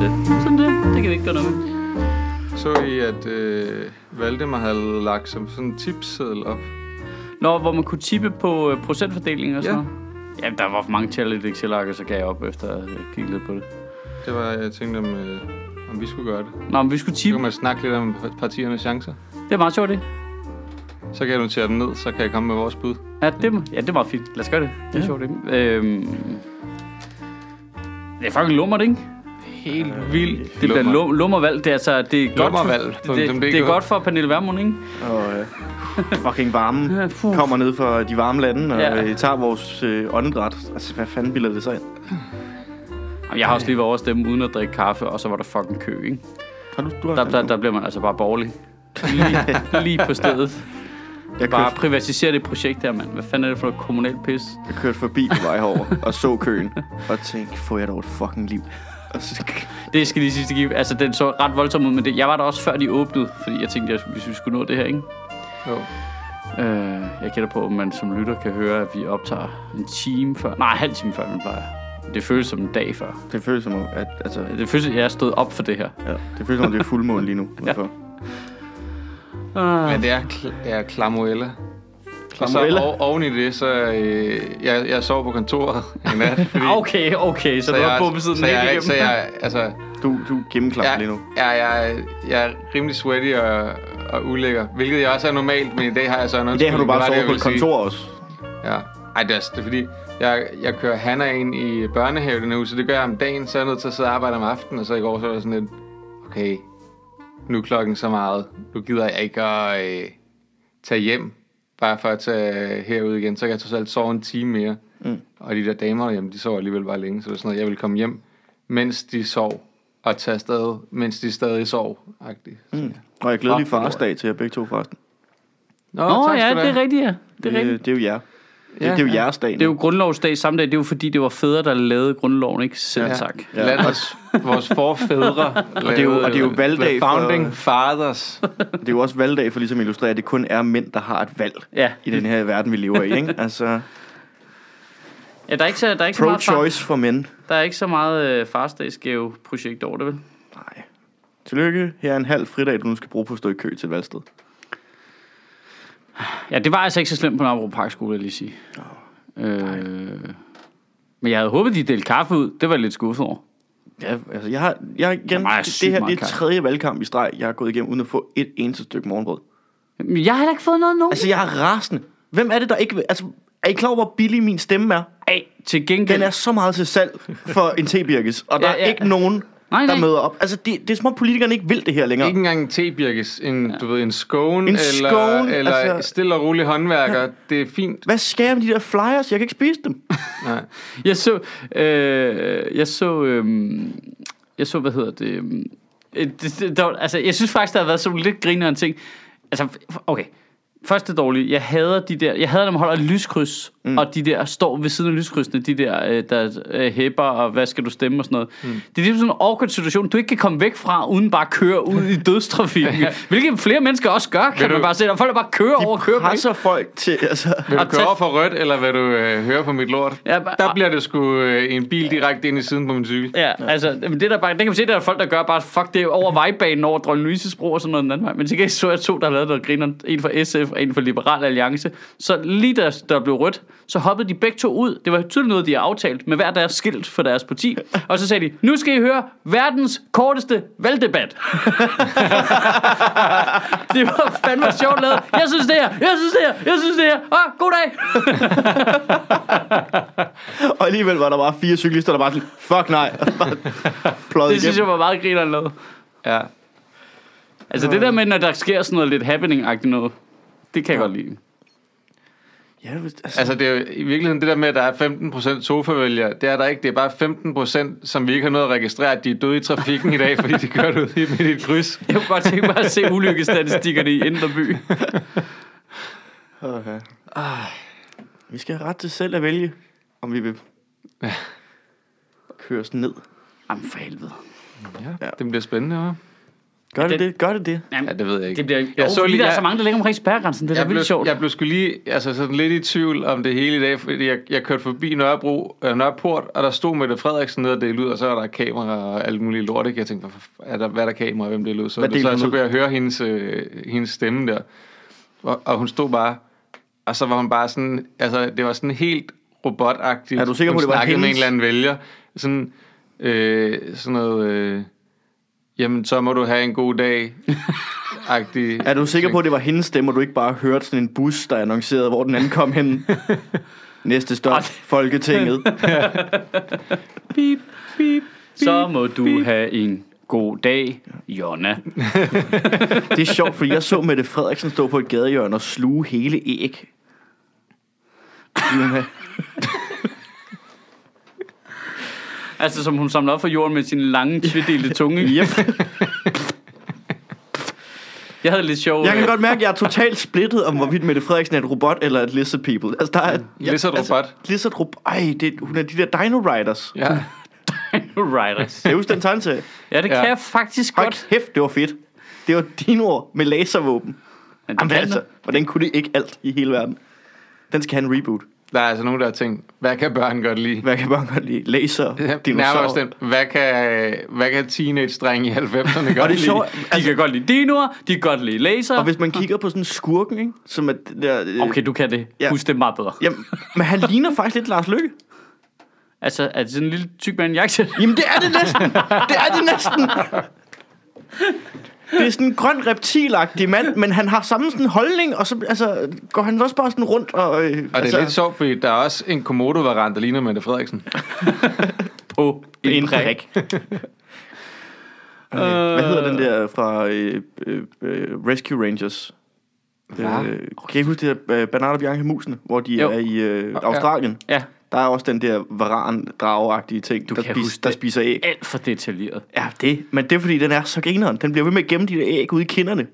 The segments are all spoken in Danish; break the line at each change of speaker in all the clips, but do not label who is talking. det. Sådan det. Det kan vi ikke gøre noget med.
Så I, at øh, Valdemar havde lagt som sådan en tipseddel op.
Nå, hvor man kunne tippe på øh, procentfordelingen og sådan
Ja.
ja. noget. Jamen, der var for mange tal i det excel så gav jeg op efter at øh, kigge lidt på det.
Det var, jeg tænkte, om, øh, om vi skulle gøre det.
Nå, men vi skulle
Så
tippe.
kan man snakke lidt om partiernes chancer.
Det er meget sjovt, det.
Så kan jeg notere dem ned, så kan jeg komme med vores bud.
Ja, det, må- ja, det er meget fint. Lad os gøre det. Det er
Ja.
ja. sjovt, ikke? Øhm, det er fucking lummert, ikke?
Helt vildt.
Øh, Det bliver lum, lummervalg. Det er altså, det er godt for,
Lummervalg.dk.
det, det, er godt for Pernille Vermund, ikke?
Og øh, fucking varmen
Ja, puh.
kommer ned fra de varme lande og
Ja.
ja. øh, tager vores øh, åndedræt. Altså, hvad fanden bilder det sig ind?
Jamen, Jeg har også lige været over at stemme uden at drikke kaffe, og så var der fucking kø, ikke?
Har du, du har
Der, der, der bliver man altså bare borgerlig. Lige, lige på stedet.
jeg,
Bare
kørte,
privatisere det projekt her, mand. Hvad fanden er det for noget kommunalt pis?
jeg kørte forbi på vej herover og så køen og tænkte, får jeg dog et fucking liv. Og så,
Det skal lige sidste give. Altså, den så ret voldsom ud, men det, jeg var der også før de åbnede, fordi jeg tænkte, at hvis vi skulle nå det her, ikke?
Jo.
Øh, jeg gætter på, at man som lytter kan høre, at vi optager en time før. Nej, en halv time før, man plejer. Det føles som en dag før.
det føles som om, at altså,
Det føles, at jeg er stået op for det her.
ja, det føles som om, det er fuldmåne lige nu. udenfor.
Ah,
Men det er, kl- det er klamuella. Og så
Klamuella?
ov- oven i det, så øh, jeg, jeg sov på kontoret en nat. Fordi,
Ah, okay, okay, så,
så
så du har bumpet
jeg,
siden
så
helt
jeg,
igennem.
så jeg, altså,
Du, du gennemklapper lige nu.
Ja, jeg, jeg er rimelig sweaty og, og ulækker, hvilket jeg også er normalt, men i dag har jeg så en
I dag har du
undskyldning,
bare
det var det, jeg
sovet på et
ville sige.
kontor også.
Ja. Ej, det er, det er fordi, jeg, jeg kører Hanna ind i børnehave den her uge, så det gør jeg om dagen, så er jeg nødt til at sidde og arbejde om aftenen, og så i går så var jeg sådan lidt, okay, nu er klokken så meget, nu gider jeg ikke at øh, tage hjem, bare for at tage herud igen, så kan jeg trods alt sove en time mere. Mm. Og de der damer derhjemme, de sover alligevel bare længe, så det er sådan noget, jeg vil komme hjem, mens de sov, og tage afsted, mens de stadig sov. Mm.
Og jeg glæder lige
Fuck,
farsdag til jer begge to forresten.
Nå,
Nå,
tak
ja,
skal du
det
have.
er rigtigt, ja. Det er rigtigt.
Det, det er jo jer. Det,
Ja,
det er jo
ja.
jeres dag.
Det er jo grundlovsdag samme dag. Det er jo fordi, det var fædre, der lavede grundloven, ikke? Selv ja. tak.
Ja. Lad os, vores forfædre. og
det er jo- og det er jo valgdag for-
Founding fathers.
Det er jo også valgdag for ligesom at illustrere, at det kun er mænd, der har et valg
Ja.
i den her verden, vi lever i. Ikke? Altså,
ja der er ikke så, der er ikke så meget, far,
pro-choice for mænd.
der er ikke så meget øh, farsdagsgave projekt over det, vel?
Nej. Tillykke. Her er en halv fridag, du nu skal bruge på at stå i kø til et valgsted.
Ja, det var altså ikke så slemt på Nørrebro Park, skulle jeg lige sige. Oh, øh, men jeg havde håbet, de delte kaffe ud. Det var jeg lidt skuffet over.
Ja, altså, jeg har, jeg har igen,
Jamen, jeg er
det
sygt
her det
meget
er
klar.
tredje valgkamp i streg, jeg har gået igennem uden at få et eneste stykke morgenbrød.
Men jeg har heller ikke fået noget nu. Altså,
Altså, jeg er rasende. Hvem er det, der ikke vil? Altså, er I klar over, hvor billig min stemme er?
Ej, til gengæld...
Den er så meget til salg for en tebirkes, og der
Ja,
er
ja.
ikke nogen,
Nej,
der
nej.
møder op. Altså, det, det er som om politikerne ikke vil det her længere.
Ikke engang en tebirkes, en, du ved, en scone,
En
eller,
scone,
eller
altså-
stille og rolig håndværker. Det er fint.
Hvad skal jeg med de der flyers? Jeg kan ikke spise dem.
Nej.
Jeg så, øh, jeg så, øh, jeg så, hvad hedder det, øh, det, det der, var- altså, jeg synes faktisk, der har været sådan lidt grinerende ting. Altså, f- okay, først det dårlige, jeg hader de der, jeg hader, når man holder et lyskryds, mm. og de der står ved siden af lyskrydsene, de der, øh, der øh, hæpper, og hvad skal du stemme og sådan noget. Mm. Det er ligesom sådan en awkward situation, du ikke kan komme væk fra, uden bare at køre ud i dødstrafikken, hvilket flere mennesker også gør, kan
du-
man bare se, der er folk, der bare kører over og kører på
Presser folk til, altså...
Vil du
Og
køre
tæt-
over for rødt, eller vil du øh, høre på mit lort?
Ja, bare-
der bliver det sgu øh, en bil direkte ind i siden på min cykel.
Ja, altså, men det, der bare, det kan man se, der er folk, der gør bare, fuck, det er over vejbanen over Dronning Louise's bro og sådan noget den anden vej. Men til gengæld så jeg to, der har lavet noget griner, en for SF og en for Liberal Alliance. Så lige da der blev rødt, så hoppede de begge to ud. Det var tydeligt noget, de har aftalt med hver deres skilt for deres parti. Og så sagde de, nu skal I høre verdens korteste valgdebat. det var fandme sjovt lavet. Jeg synes det her, jeg synes det her, jeg synes det her. Ah, god dag.
Og alligevel var der bare fire cyklister, der bare sådan, fuck nej, og bare pløjede
Det synes jeg
igennem.
var meget griner lavet.
Ja.
Altså det der med, når der sker sådan noget lidt happening-agtigt noget, det kan jeg godt lide.
Ja, hvis- altså,
Altså, det er jo i virkeligheden det der med, at der er 15% sofavælgere. Det er der ikke. Det er bare 15%, som vi ikke har nået at registrere, at de er døde i trafikken i dag, fordi de kørte ud i midt i et kryds.
Jeg kunne godt tænke mig at se ulykkestatistikkerne i Indre By.
okay.
Ah.
Vi skal have ret til selv at vælge, om vi vil køre os ned.
Jamen for helvede.
Ja, det bliver spændende, hva'?
Gør det
den-
det? Gør det det?
Jamen,
Ja, det ved jeg ikke.
det bliver ikke...
Jeg
Jeg
så
så
lige-
der er
jeg-
så mange, der ligger omkring spærregrænsen. Det er da
jeg blev,
vildt sjovt.
Jeg blev skulle lige, altså sådan lidt i tvivl om det hele i dag, fordi jeg, jeg kørte forbi Nørrebro, øh, Nørreport, og der stod Mette Frederiksen nede og delte ud, og så var der kamera og alt muligt lort, ikke? Jeg tænkte, hvad, er der, hvad er der kamera, og hvem delte ud? Så,
Hvad
så,
delte
så,
hun
så
ud?
kunne jeg høre hendes, øh, hendes stemme der, og, og hun stod bare, og så var hun bare sådan, altså det var sådan helt robotagtigt.
Er du sikker på,
hun
det var
snakkede med en
hendes?
eller anden vælger, sådan, øh, sådan noget... Øh, Jamen, så må du have en god dag.
Er du sikker på, at det var hendes stemme, og du ikke bare hørte sådan en bus, der annoncerede, hvor den anden kom hen? Næste stop, Folketinget.
Beep, beep, så må du have en god dag, Jonna.
Det er sjovt, fordi jeg så Mette Frederiksen stå på et gadehjørne og sluge hele æg. Fordi hun havde-
Altså, som hun samler op fra jorden med sin lange, tvedelte tunge. yep. Jeg havde lidt sjov... øh,
Jeg kan godt mærke, at jeg er totalt splittet om, hvorvidt Mette Frederiksen er et robot eller et lizard people. Altså, der er... Ja, altså,
Lizard robot.
lizard robot. Ej, det, hun er de der Dino Riders.
Ja.
Riders.
Kan du huske den tegneserie?
Ja, det
Ja.
ja. kan jeg faktisk
Hold
godt.
kæft, det var fedt. Det var dinoer med laservåben.
Men det
Jamen,
kan
altså,
den.
hvordan kunne det ikke alt i hele verden? Den skal have en reboot.
Der er altså nogen, der har tænkt, hvad kan børn godt lide?
Hvad kan børn godt lide? Laser,
Nærmere
dinosaurer.
bestemt, hvad kan, hvad kan teenage-drenge i 90'erne godt
Og det er
lide?
sjovt,
De kan godt lide dinoer, de kan godt lide laser.
og hvis man kigger på sådan skurken, ikke? som er det der... øh,
Okay, du kan det.
Ja.
Husk det meget bedre.
Jamen, men han ligner faktisk lidt Lars Lykke.
Altså, er det sådan en lille tyk mand i en jakke?
Jamen, det er det næsten. Det er det næsten. Det er sådan en grøn reptilagtig mand, men han har samme sådan holdning, og så altså, går han også bare sådan rundt og... Øh,
Og det
altså,
er lidt sjovt, fordi der er også en Komodo-variant, der ligner Mette Frederiksen.
På en,
en
en prik.
prik. Øh, Hvad hedder den der fra øh, øh, øh, Rescue Rangers? Ja.
Ja.
Øh, kan I huske det der øh, Bernard og Bianca Musene, hvor de
Jo.
jo. er i øh, Australien? Ja.
Ja,
Der er også den der varan drageagtige ting, der,
kan huske
der
det.
spiser æg.
alt for detaljeret.
Ja, det. Men det er fordi, den er så grineren. Den bliver ved med at gemme de der æg ude i kinderne.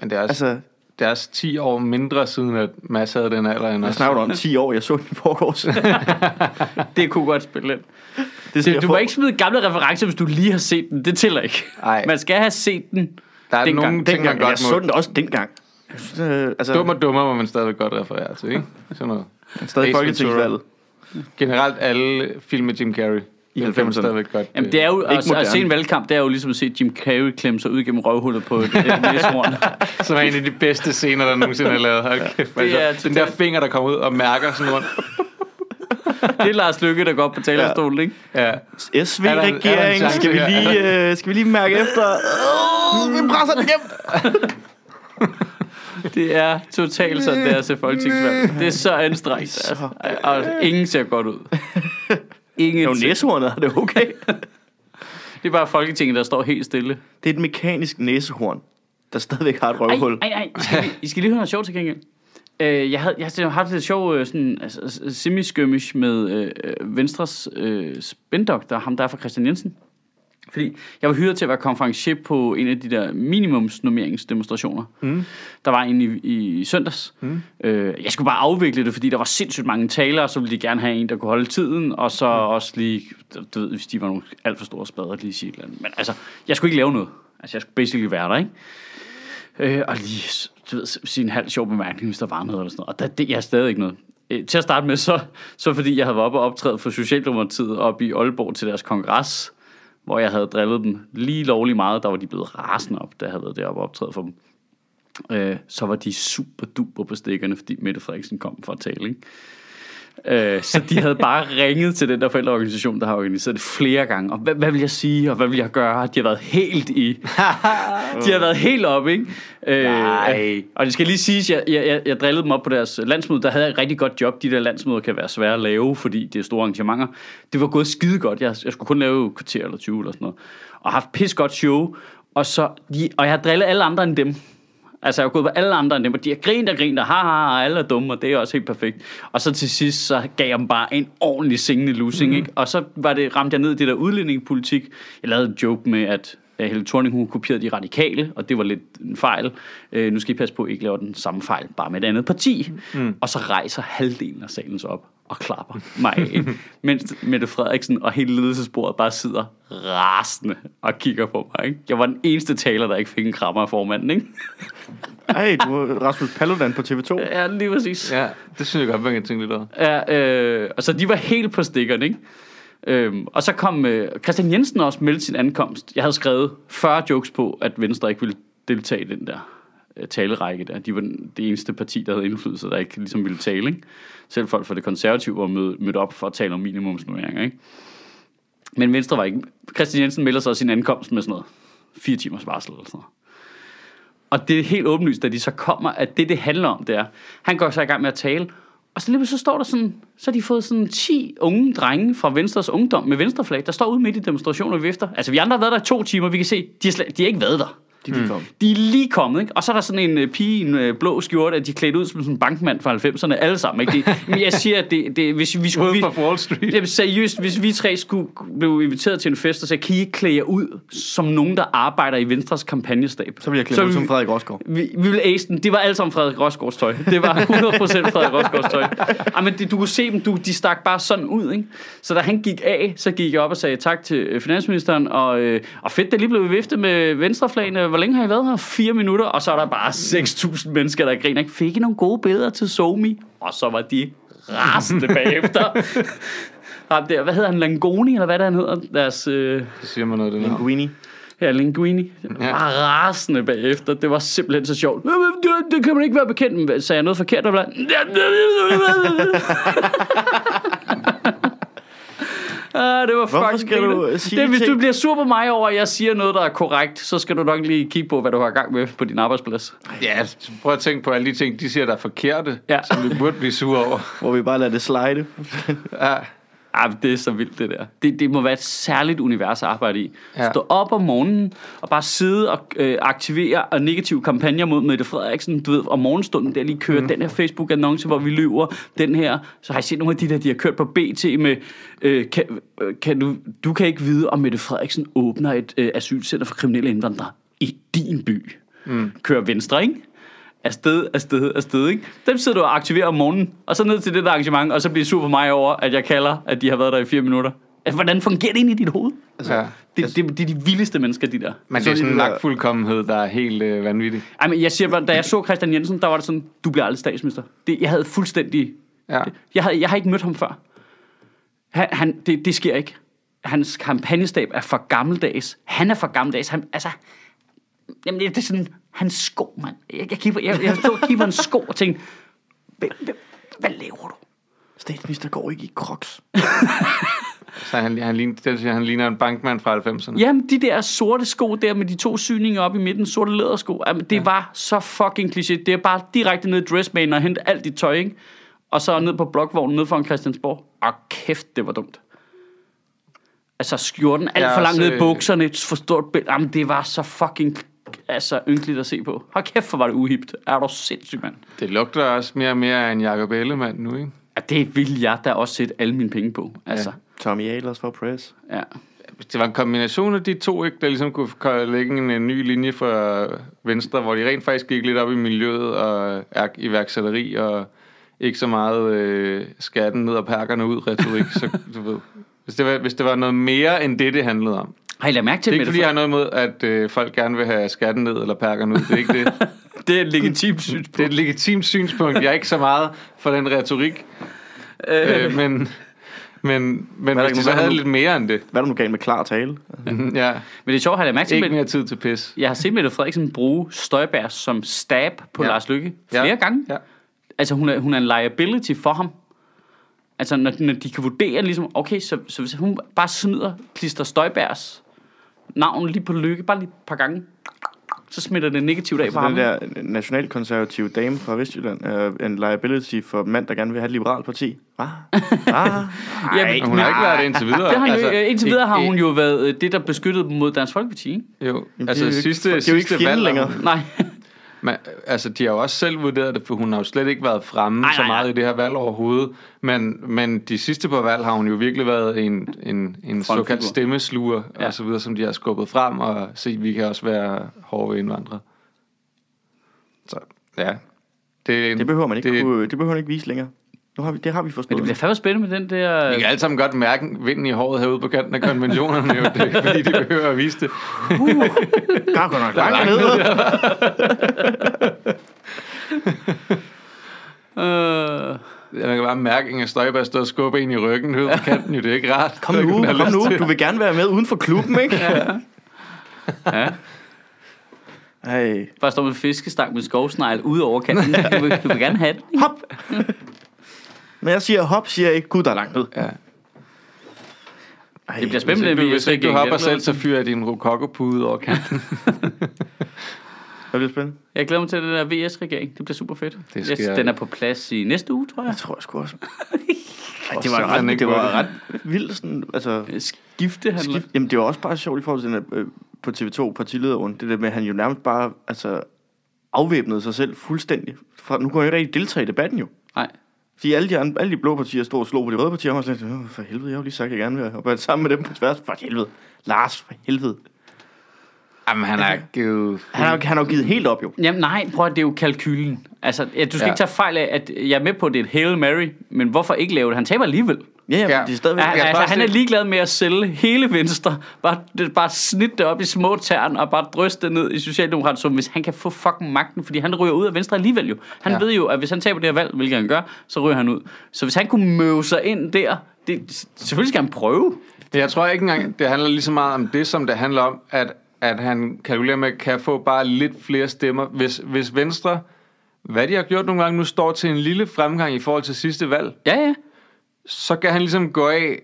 Men det er, også, altså,
Altså,
det er også 10 år mindre siden, at Mads havde den alder end
jeg
os.
snakker du om 10 år, jeg så den i forgårs. Det, er
Det kunne godt spille lidt.
sådan,
Det,
jeg
du må
får-
ikke smide gamle referencer, hvis du lige har set den. Det tæller ikke.
Ej.
Man skal have set den.
Der er
dengang.
nogle ting, man
Dengang, jeg
godt
så
må...
den også dengang. Jeg synes, øh, altså,
Dum og dummer må man stadig godt referere til, ikke? Sådan noget.
stadig
Ace
folketingsvalget.
Generelt alle film med Jim Carrey. I
90'erne.
Stadigvæk godt. øh,
Jamen, det er jo, altså, at,
moderne.
at, se en valgkamp, det er jo ligesom at se Jim Carrey klemme sig ud gennem røvhullet på et øh, næsehorn.
Som er en af de bedste scener, der nogensinde er lavet. Hold kæft,
Det er
altså. Den der finger, der kommer ud og mærker sådan rundt.
det er Lars Lykke, der går op på talerstolen, ikke?
Ja. Er der en
SV-regeringen,
chance
skal, vi
her?
lige, øh, skal vi lige mærke efter? Øh, vi presser den hjem!
Det er totalt sådan, det er til folketingsvalg. Det er så anstrengt. Altså. Og ingen ser godt ud. Ingen
Jo,
ser-
næsehornet er det okay.
Det er bare Folketinget, der står helt stille.
Det er et mekanisk næsehorn, der stadigvæk har et røvhul.
Ej, ej, I skal, lige- I skal lige høre noget sjovt til gengæld. Øh, jeg, havde, jeg har haft lidt sjov øh, sådan, altså, s- semi-skirmish med øh, øh, Venstres øh, spindoktor, ham der er fra Christian Jensen. Fordi jeg var hyret til at være konferencier på en af de der minimumsnormeringsdemonstrationer. Mm. Der var en i, i, søndags. Mm. Øh, jeg skulle bare afvikle det, fordi der var sindssygt mange talere, så ville de gerne have en, der kunne holde tiden, og så mm. også lige, du ved, hvis de var nogle alt for store spader, lige sige et eller andet. Men altså, jeg skulle ikke lave noget. Altså, jeg skulle basically være der, ikke? Øh, og lige s- du ved, s- sige en halv sjov bemærkning, hvis der var noget eller sådan noget. Og der, det, jeg er stadig ikke noget. Øh, til at starte med, så, så fordi jeg havde været oppe og optrædet for Socialdemokratiet op i Aalborg til deres kongres, hvor jeg havde drillet dem lige lovlig meget. Der var de blevet rasende op, da jeg havde været deroppe og optrædet for dem. Øh, så var de super duper på stikkerne, fordi Mette Frederiksen kom for at tale, ikke? Øh, så de havde bare ringet til den der forældreorganisation, der har organiseret det flere gange. Og hvad, hvad vil jeg sige, og hvad vil jeg gøre? De har været helt i. de har været helt oppe, ikke? Øh,
Nej.
Og det skal lige siges, jeg, jeg, jeg, jeg drillede dem op på deres landsmøde. Der havde jeg et rigtig godt job. De der landsmøder kan være svære at lave, fordi det er store arrangementer. Det var gået skide godt. Jeg, jeg skulle kun lave et kvarter eller 20 eller sådan noget. Og haft pis godt show. Og, så, de, og jeg har drillet alle andre end dem. Altså, jeg har gået på alle andre end dem, og de har grint og grint, og ha, ha, ha, alle er dumme, og det er også helt perfekt. Og så til sidst, så gav jeg dem bare en ordentlig singende losing, ikke? Og så var det, ramte jeg ned i det der udlændingepolitik. Jeg lavede en joke med, at Øh, Helle Thorning, hun kopierede de radikale, og det var lidt en fejl. Øh, nu skal I passe på, at I ikke laver den samme fejl, bare med et andet parti. Mm. Og så rejser halvdelen af salen sig op og klapper mig af, mens Mette Frederiksen og hele ledelsesbordet bare sidder rasende og kigger på mig. Ikke? Jeg var den eneste taler, der ikke fik en krammer af formanden, ikke?
Ej, du var Rasmus Paludan på TV2.
Ja, lige præcis.
Ja, det synes jeg godt, man kan tænke lidt over.
Ja, øh, og så de var helt på stikkerne, ikke? Øhm, og så kom øh, Christian Jensen også meldte sin ankomst. Jeg havde skrevet 40 jokes på, at Venstre ikke ville deltage i den der øh, talerække der. De var den- det eneste parti, der havde indflydelse, der ikke ligesom ville tale. Ikke? Selv folk fra det konservative var mød, mødt op for at tale om minimumsnummeringer. Ikke? Men Venstre var ikke... Christian Jensen melder så sin ankomst med sådan noget. Fire timers varsel eller sådan noget. Og det er helt åbenlyst, da de så kommer, at det, det handler om, det er, han går så i gang med at tale, og så lige pludselig så står der sådan, så har de fået sådan 10 unge drenge fra Venstres Ungdom med Venstreflag, der står ude midt i demonstrationer vi efter. Altså, vi andre har været der i to timer, vi kan se, de har, slet, de har ikke været der.
De gik om.
De er lige kommet, ikke? Og så er der sådan en øh, pige i en øh, blå skjorte, at de er klædt ud som sådan en bankmand fra 90'erne, alle sammen, ikke? De, men jeg siger, at det, det, hvis vi skulle...
Ude
Vi,
på Wall Street.
Jamen seriøst, hvis vi tre skulle blive inviteret til en fest, og sagde, kan I ikke klæde jer ud som nogen, der arbejder i Venstres kampagnestab?
Så bliver jeg klædt ud
ville
som
vi-
Frederik Rosgaard.
vi, vi ville ace den. Det var alt sammen Frederik Rosgaards tøj. Det var 100% Frederik Rosgaards tøj. Ej, men det, du kunne se dem, du, de stak bare sådan ud. Ikke? Så da han gik af, så gik jeg op og sagde tak til øh, finansministeren. Og, øh, og fedt, det lige blev viftet med venstreflagen. Øh, Hvor længe har I været her? Fire minutter. Og så er der bare 6.000 mennesker, der griner. ikke? Fik I nogle gode billeder til Somi? Og så var de rasende bagefter. Ham der, hvad hedder han? Langoni, eller hvad det er, han hedder? Deres, øh,
Det siger mig noget, det navn.
Linguini.
Ja, Linguini.
Ja.
Ja. Var rasende bagefter. Det var simpelthen så sjovt. "Øh, men Det, det kan man ikke være bekendt med. Sagde jeg noget forkert? Og bla- Ah, det var fucking
skal du
grineren.
sige
det, Hvis
ting?
du bliver sur på mig over, at jeg siger noget, der er korrekt, så skal du nok lige kigge på, hvad du har i gang med på din arbejdsplads.
Ja, prøv at tænke på alle de ting, de siger, der er forkerte,
Ja.
som du burde blive sur over.
Hvor vi bare lader det slide.
Ja,
Ej, men Ah, det er så vildt, det der. Det, det må være et særligt univers at arbejde i.
Ja.
Ja. Stå op om morgenen og bare sidde og øh, aktivere og negative kampagner mod Mette Frederiksen. Du ved, om morgenstunden der lige kører mm. den her Facebook-annonce, hvor vi løber den her. Så har jeg set nogle af de der, de har kørt på BT med, øh, kan, øh, kan du, du kan ikke vide, om Mette Frederiksen åbner et øh, asylcenter for kriminelle indvandrere i din by. Mm. Kører venstre, ikke? afsted, afsted, afsted, ikke? Dem sidder du og aktiverer om morgenen, og så ned til det der arrangement, og så bliver sur på mig over, at jeg kalder, at de har været der i fire minutter. Altså, hvordan fungerer det egentlig i dit hoved?
ja.
Det, det, det er de vildeste mennesker, de der.
Altså, Men
Så
det er
lige
sådan en
det der-
magtfuldkommenhed, der er helt øh, vanvittig.
Ej, men jeg siger bare, da jeg så Christian Jensen, der var det sådan, du bliver aldrig statsminister. Det, jeg havde fuldstændig...
Ja.
Jeg, havde, jeg har ikke mødt ham før. Han, han, det, det sker ikke. Hans kampagnestab er for gammeldags. Han er for gammeldags. Han, altså, jamen, det, det er sådan, hans sko, mand. Jeg, jeg, kigger, jeg, jeg stod og kiggede på hans sko og tænkte, "Hvem- hvem- hvad laver du?
Statsminister går ikke i crocs.
Så han, han, ligner, det vil sige, han ligner en bankmand fra 90'erne.
Jamen, de der sorte sko der med de to syninger op i midten, sorte lædersko, jamen, det ja. var så fucking kliché. Det er bare direkte ned i dressmanen og hente alt dit tøj, ikke? Og så ned på blokvognen ned foran Christiansborg. Og kæft, det var dumt. Altså skjorten alt
Ja,
for langt
så-
ned i bukserne, et for stort billede. Jamen, det var så fucking altså, ynkeligt at se på. Hold kæft, hvor var det uhipt. Er du sindssyg, mand?
Det lugter også mere og mere af en Jacob Ellemann nu, ikke?
Ja, det ville jeg da også sætte alle mine penge på. Altså,
Tommy Ahlers for press.
ja. ja.
Det var en kombination af de to, ikke, der ligesom kunne k- lægge en, en ny linje fra Venstre, hvor de rent faktisk gik lidt op i miljøet og er- iværksætteri og ikke så meget øh, skatten ned og perkerne ud retorik, så du ved. Hvis det, var, hvis det var noget mere end det, det handlede om.
Har I lagt mærke til
Det er
Mette
ikke, fordi jeg har noget imod, at øh, folk gerne vil have skatten ned eller perkerne ud. Det er ikke det.
Frederiksen? Det er et legitimt synspunkt.
Det er et legitimt synspunkt. Jeg er ikke så meget for den retorik. Øh, men men, men
der
hvis
ikke
de så
nogen-
havde lidt mere end det.
Hvad er der nu galt med klar tale?
Ja.
Men det er sjovt, har jeg lagt mærke til,
Ikke
Mette-
mere tid til pis.
Jeg har set Mette Frederiksen bruge Støjberg som stab på
Ja.
ja. Lars Lykke flere
ja.
gange.
Ja.
Altså, hun er, hun er en liability for ham. Altså, når, når de kan vurdere ligesom, okay, så, så hvis hun bare smider Klister Støjbergs navn lige på Lykke, bare lige et par gange, så smitter det negativt af på
Så
ham.
Altså, den der nationalkonservative dame fra Vestjylland er en liability for mand, der gerne vil have et liberalt parti. Hvad? Ah,
Ja,
Men hun har ikke været det indtil videre.
det har hun, altså, indtil videre har
ikke-
hun jo været øh, det, der beskyttede dem mod Dansk Folkeparti, ikke?
Jo,
Jamen,
altså
det er jo ikke-
sidste,
det er jo ikke
sidste
fjenden
valg.
længere.
Længere.
Nej.
Men, altså, de har jo også selv vurderet det, for hun har jo slet ikke været fremme
Nej,
så
nej,
meget
nej.
i det her valg overhovedet. Men, men de sidste par valg har hun jo virkelig været en, en, en såkaldt stemmesluger, ja. og så videre, som de har skubbet frem, og se, vi kan også være hårde ved indvandrere. Så, ja. Det, er en-
Det behøver man ikke,
det,
det, kunne, det behøver man ikke vise længere. Nu har vi, det har vi
Men det
forstået.
bliver fandme spændende med den der... øh,
Vi kan alle sammen godt mærke vinden i håret herude på kanten af konventionerne, jo, det, er ikke, fordi de behøver at vise det.
Der er godt nok
Der er
langt
langt
ned.
Øh,
Man kan bare mærke, at Inger Støjberg står og skubber en i ryggen ude på kanten, jo, det er ikke rart.
Kom nu, kom nu. Du vil gerne være med uden for klubben, ikke?
ja.
Ej.
Bare stå med en fiskestang med en skovsnegl ud over kanten. Du vil, du vil gerne have den. ikke?
Hop! Når jeg siger hop, siger jeg ikke, gud, der er langt ned.
Ja.
Ej,
Det bliver spændende,
Hvis ikke du, hvis
så
ikke du
gik
hopper
hjem.
selv, så fyrer jeg din rokokopude over kanten.
Det bliver spændende.
Jeg glæder mig til den der VS-regering. Det bliver super fedt.
Det
Yes,
sker.
den er på plads i næste uge, tror jeg.
Jeg tror jeg sgu også. Ej,
Og
det
så er
var,
han
ret,
ikke
det var
vundet.
ret vildt. Sådan, altså,
Skifte handler.
skift, jamen, det var også bare sjovt i forhold til den der, øh, på TV2 partilederrunden. Det der med, at han jo nærmest bare altså, afvæbnede sig selv fuldstændig. Fra, nu kunne han jo ikke rigtig deltage i debatten jo.
Nej.
Fordi alle de, andre, alle de blå partier stod og slog på de røde partier, og han var sådan, "Åh, for helvede, jeg har jo lige sagt, at jeg gerne vil arbejde sammen med dem på tværs. For helvede. Lars, for helvede.
Jamen, han har givet...
Han har, han har jo givet helt op jo.
Jamen nej, prøv at det er jo kalkylen. Altså, ja, du skal
Ja.
ja. ikke tage fejl af, at jeg er med på, at det er et Hail Mary, men hvorfor ikke lave det? Han taber alligevel.
Ja, ja,
Ja.
men det er stadigvæk...
Ja,
jeg
altså,
tror også,
han er
det-
ligeglad med at sælge hele Venstre. Bare, det, bare snit det op i små tern og bare drøste det ned i Socialdemokraterne, som hvis han kan få fucking magten, fordi han ryger ud af Venstre alligevel jo. Han
Ja.
ja. ved jo, at hvis han taber det her valg, hvilket han gør, så ryger han ud. Så hvis han kunne møve sig ind der, det, selvfølgelig skal han prøve.
Jeg tror ikke engang, det handler lige så meget om det, som det handler om, at, at han kalkulerer med, at kan få bare lidt flere stemmer. Hvis, hvis Venstre, hvad de har gjort nogle gange, nu står til en lille fremgang i forhold til sidste valg,
Ja, ja.
så kan han ligesom gå af,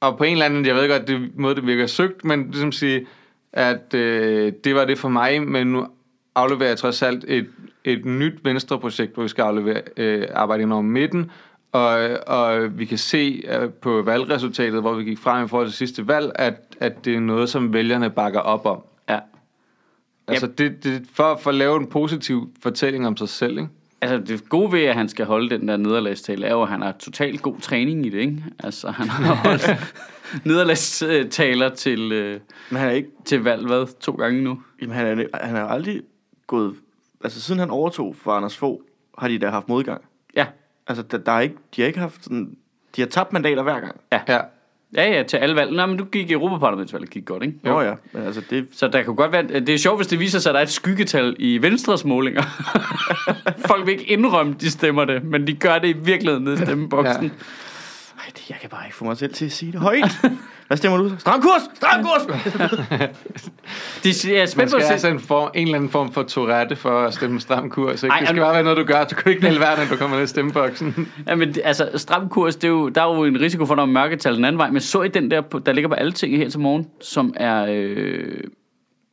og på en eller anden, jeg ved godt, det måde, det virker søgt, men ligesom sige, at øh, det var det for mig, men nu afleverer jeg trods alt et, et nyt venstreprojekt, hvor vi skal aflevere, øh, arbejde ind over midten, og, og vi kan se øh, på valgresultatet, hvor vi gik frem i forhold til sidste valg, at, at det er noget, som vælgerne bakker op om.
ja.
Altså det, det, for, for at lave en positiv fortælling om sig selv, ikke?
Altså, det gode ved, at han skal holde den der nederlagstale, er jo, at han har totalt god træning i det, ikke? Altså, han har holdt nederlagstaler til, øh,
Men han er ikke...
til valg, hvad? To gange nu?
Jamen, han er, han er aldrig gået... Altså, siden han overtog fra Anders Fogh, har de da haft modgang.
Ja.
Altså, der, der er ikke, de har ikke haft sådan... De har tabt mandater hver gang.
Ja.
Ja, ja, til alle valg. Nå, men du gik i Europaparlamentsvalget, gik godt, ikke?
Nå ja, men altså, det,
Så der kunne godt være, øh, det er sjovt, hvis det viser sig, at der er et skyggetal i Venstres målinger. Folk vil ikke indrømme, de stemmer det, men de gør det i virkeligheden nede i stemmeboksen.
Ja.
Ja.
ej, det, jeg kan bare ikke få mig selv til at sige det højt. Hvad stemmer du? så? Stram kurs! Stram kurs!
De, jeg er
Man
spændt på
skal altså
at se.
have sådan en, form, en eller anden form for Tourette for at stemme stram kurs. Ikke?
Ej,
det skal
jamen-
bare være noget, du gør. Du kan ikke vælge hver, når du kommer ned i stemmeboksen.
Ja, men det- altså, stram kurs, det er jo, der er jo en risiko for, at der er mørketal den anden vej. Men så i den der, på- der ligger på alle ting her til morgen, som er, øh,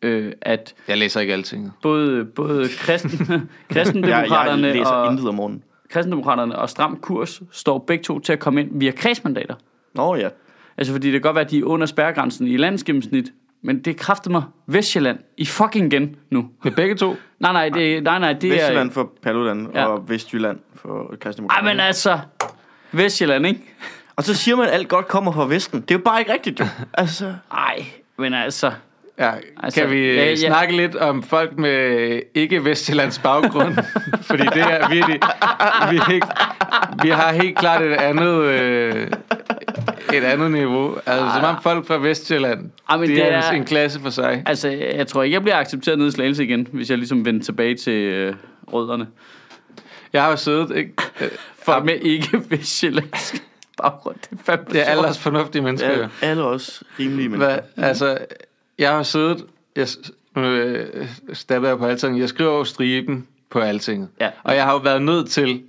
øh, at
Jeg læser ikke alting.
både, både kristen,
Jeg, jeg
kristendemokraterne
læser og...
og,
intet om morgenen.
kristendemokraterne og stram kurs står begge to til at komme ind via kredsmandater.
Nå ja.
Altså, fordi det kan godt være, at de er under spærregrænsen i landsgennemsnit, men det kræfter mig Vestjylland i fucking igen nu.
Med begge to?
Nej, nej, det, nej, nej, det er...
Vestjylland for Paludan
Ja.
ja. og Vestjylland for Christian
Ej, men altså, Vestjylland, ikke?
Og så siger man, at alt godt kommer fra Vesten. Det er jo bare ikke rigtigt, jo. Altså,
Ej, men altså...
Ja,
Altså,
altså, kan vi
ja,
ja,
ja.
ja. snakke lidt om folk med ikke Vestjyllands baggrund? Fordi det er virkelig... Vi, er ikke, vi har helt klart et andet... Øh, et andet niveau. Altså, som om folk fra Vestjylland,
Ej, men
det,
det
det er,
er-
en klasse for sig.
Altså, jeg tror ikke, jeg bliver accepteret nede i Slagelse igen, hvis jeg ligesom vender tilbage til øh, rødderne.
Jeg har jo siddet... Ikke, øh,
For
for,
med ikke vestjyllandsk baggrund. Det er fandme
det er
sjovt.
alders fornuftige mennesker, jo.
alle, alle også rimelige mennesker.
Hvad, altså, jeg har siddet, jeg s- nu, øh, stabber jeg på alting, jeg skriver jo striben på altinget.
Ja.
Og jeg har jo været nødt til,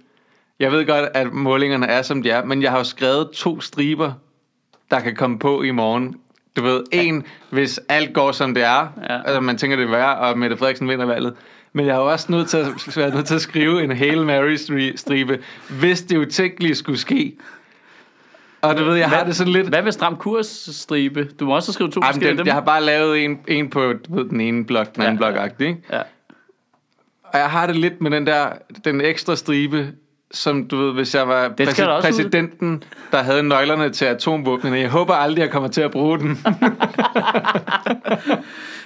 jeg ved godt, at målingerne er, som de er, men jeg har jo skrevet to striber, der kan komme på i morgen. Du ved, en, hvis alt går, som det er,
Ja.
altså man tænker, det er værre, og Mette Frederiksen vinder valget. Men jeg har jo også nødt til at, været nødt til at skrive en Hail Mary-stribe, hvis det utænkelige skulle ske. Og du ved, jeg har det sådan lidt...
Hvad med stram kursstribe? Du må også skrive to
Ej, men
forskellige af
den,
dem.
jeg har bare lavet en, en på du ved, den ene blok, den anden
Ja,
ja, blok ikke?
Ja.
Og jeg har det lidt med den der, den ekstra stribe, som du ved, hvis jeg var
skal
præsi-
der også ud.
præsidenten, der havde nøglerne til atomvåbnene. Jeg håber aldrig, jeg kommer til at bruge den.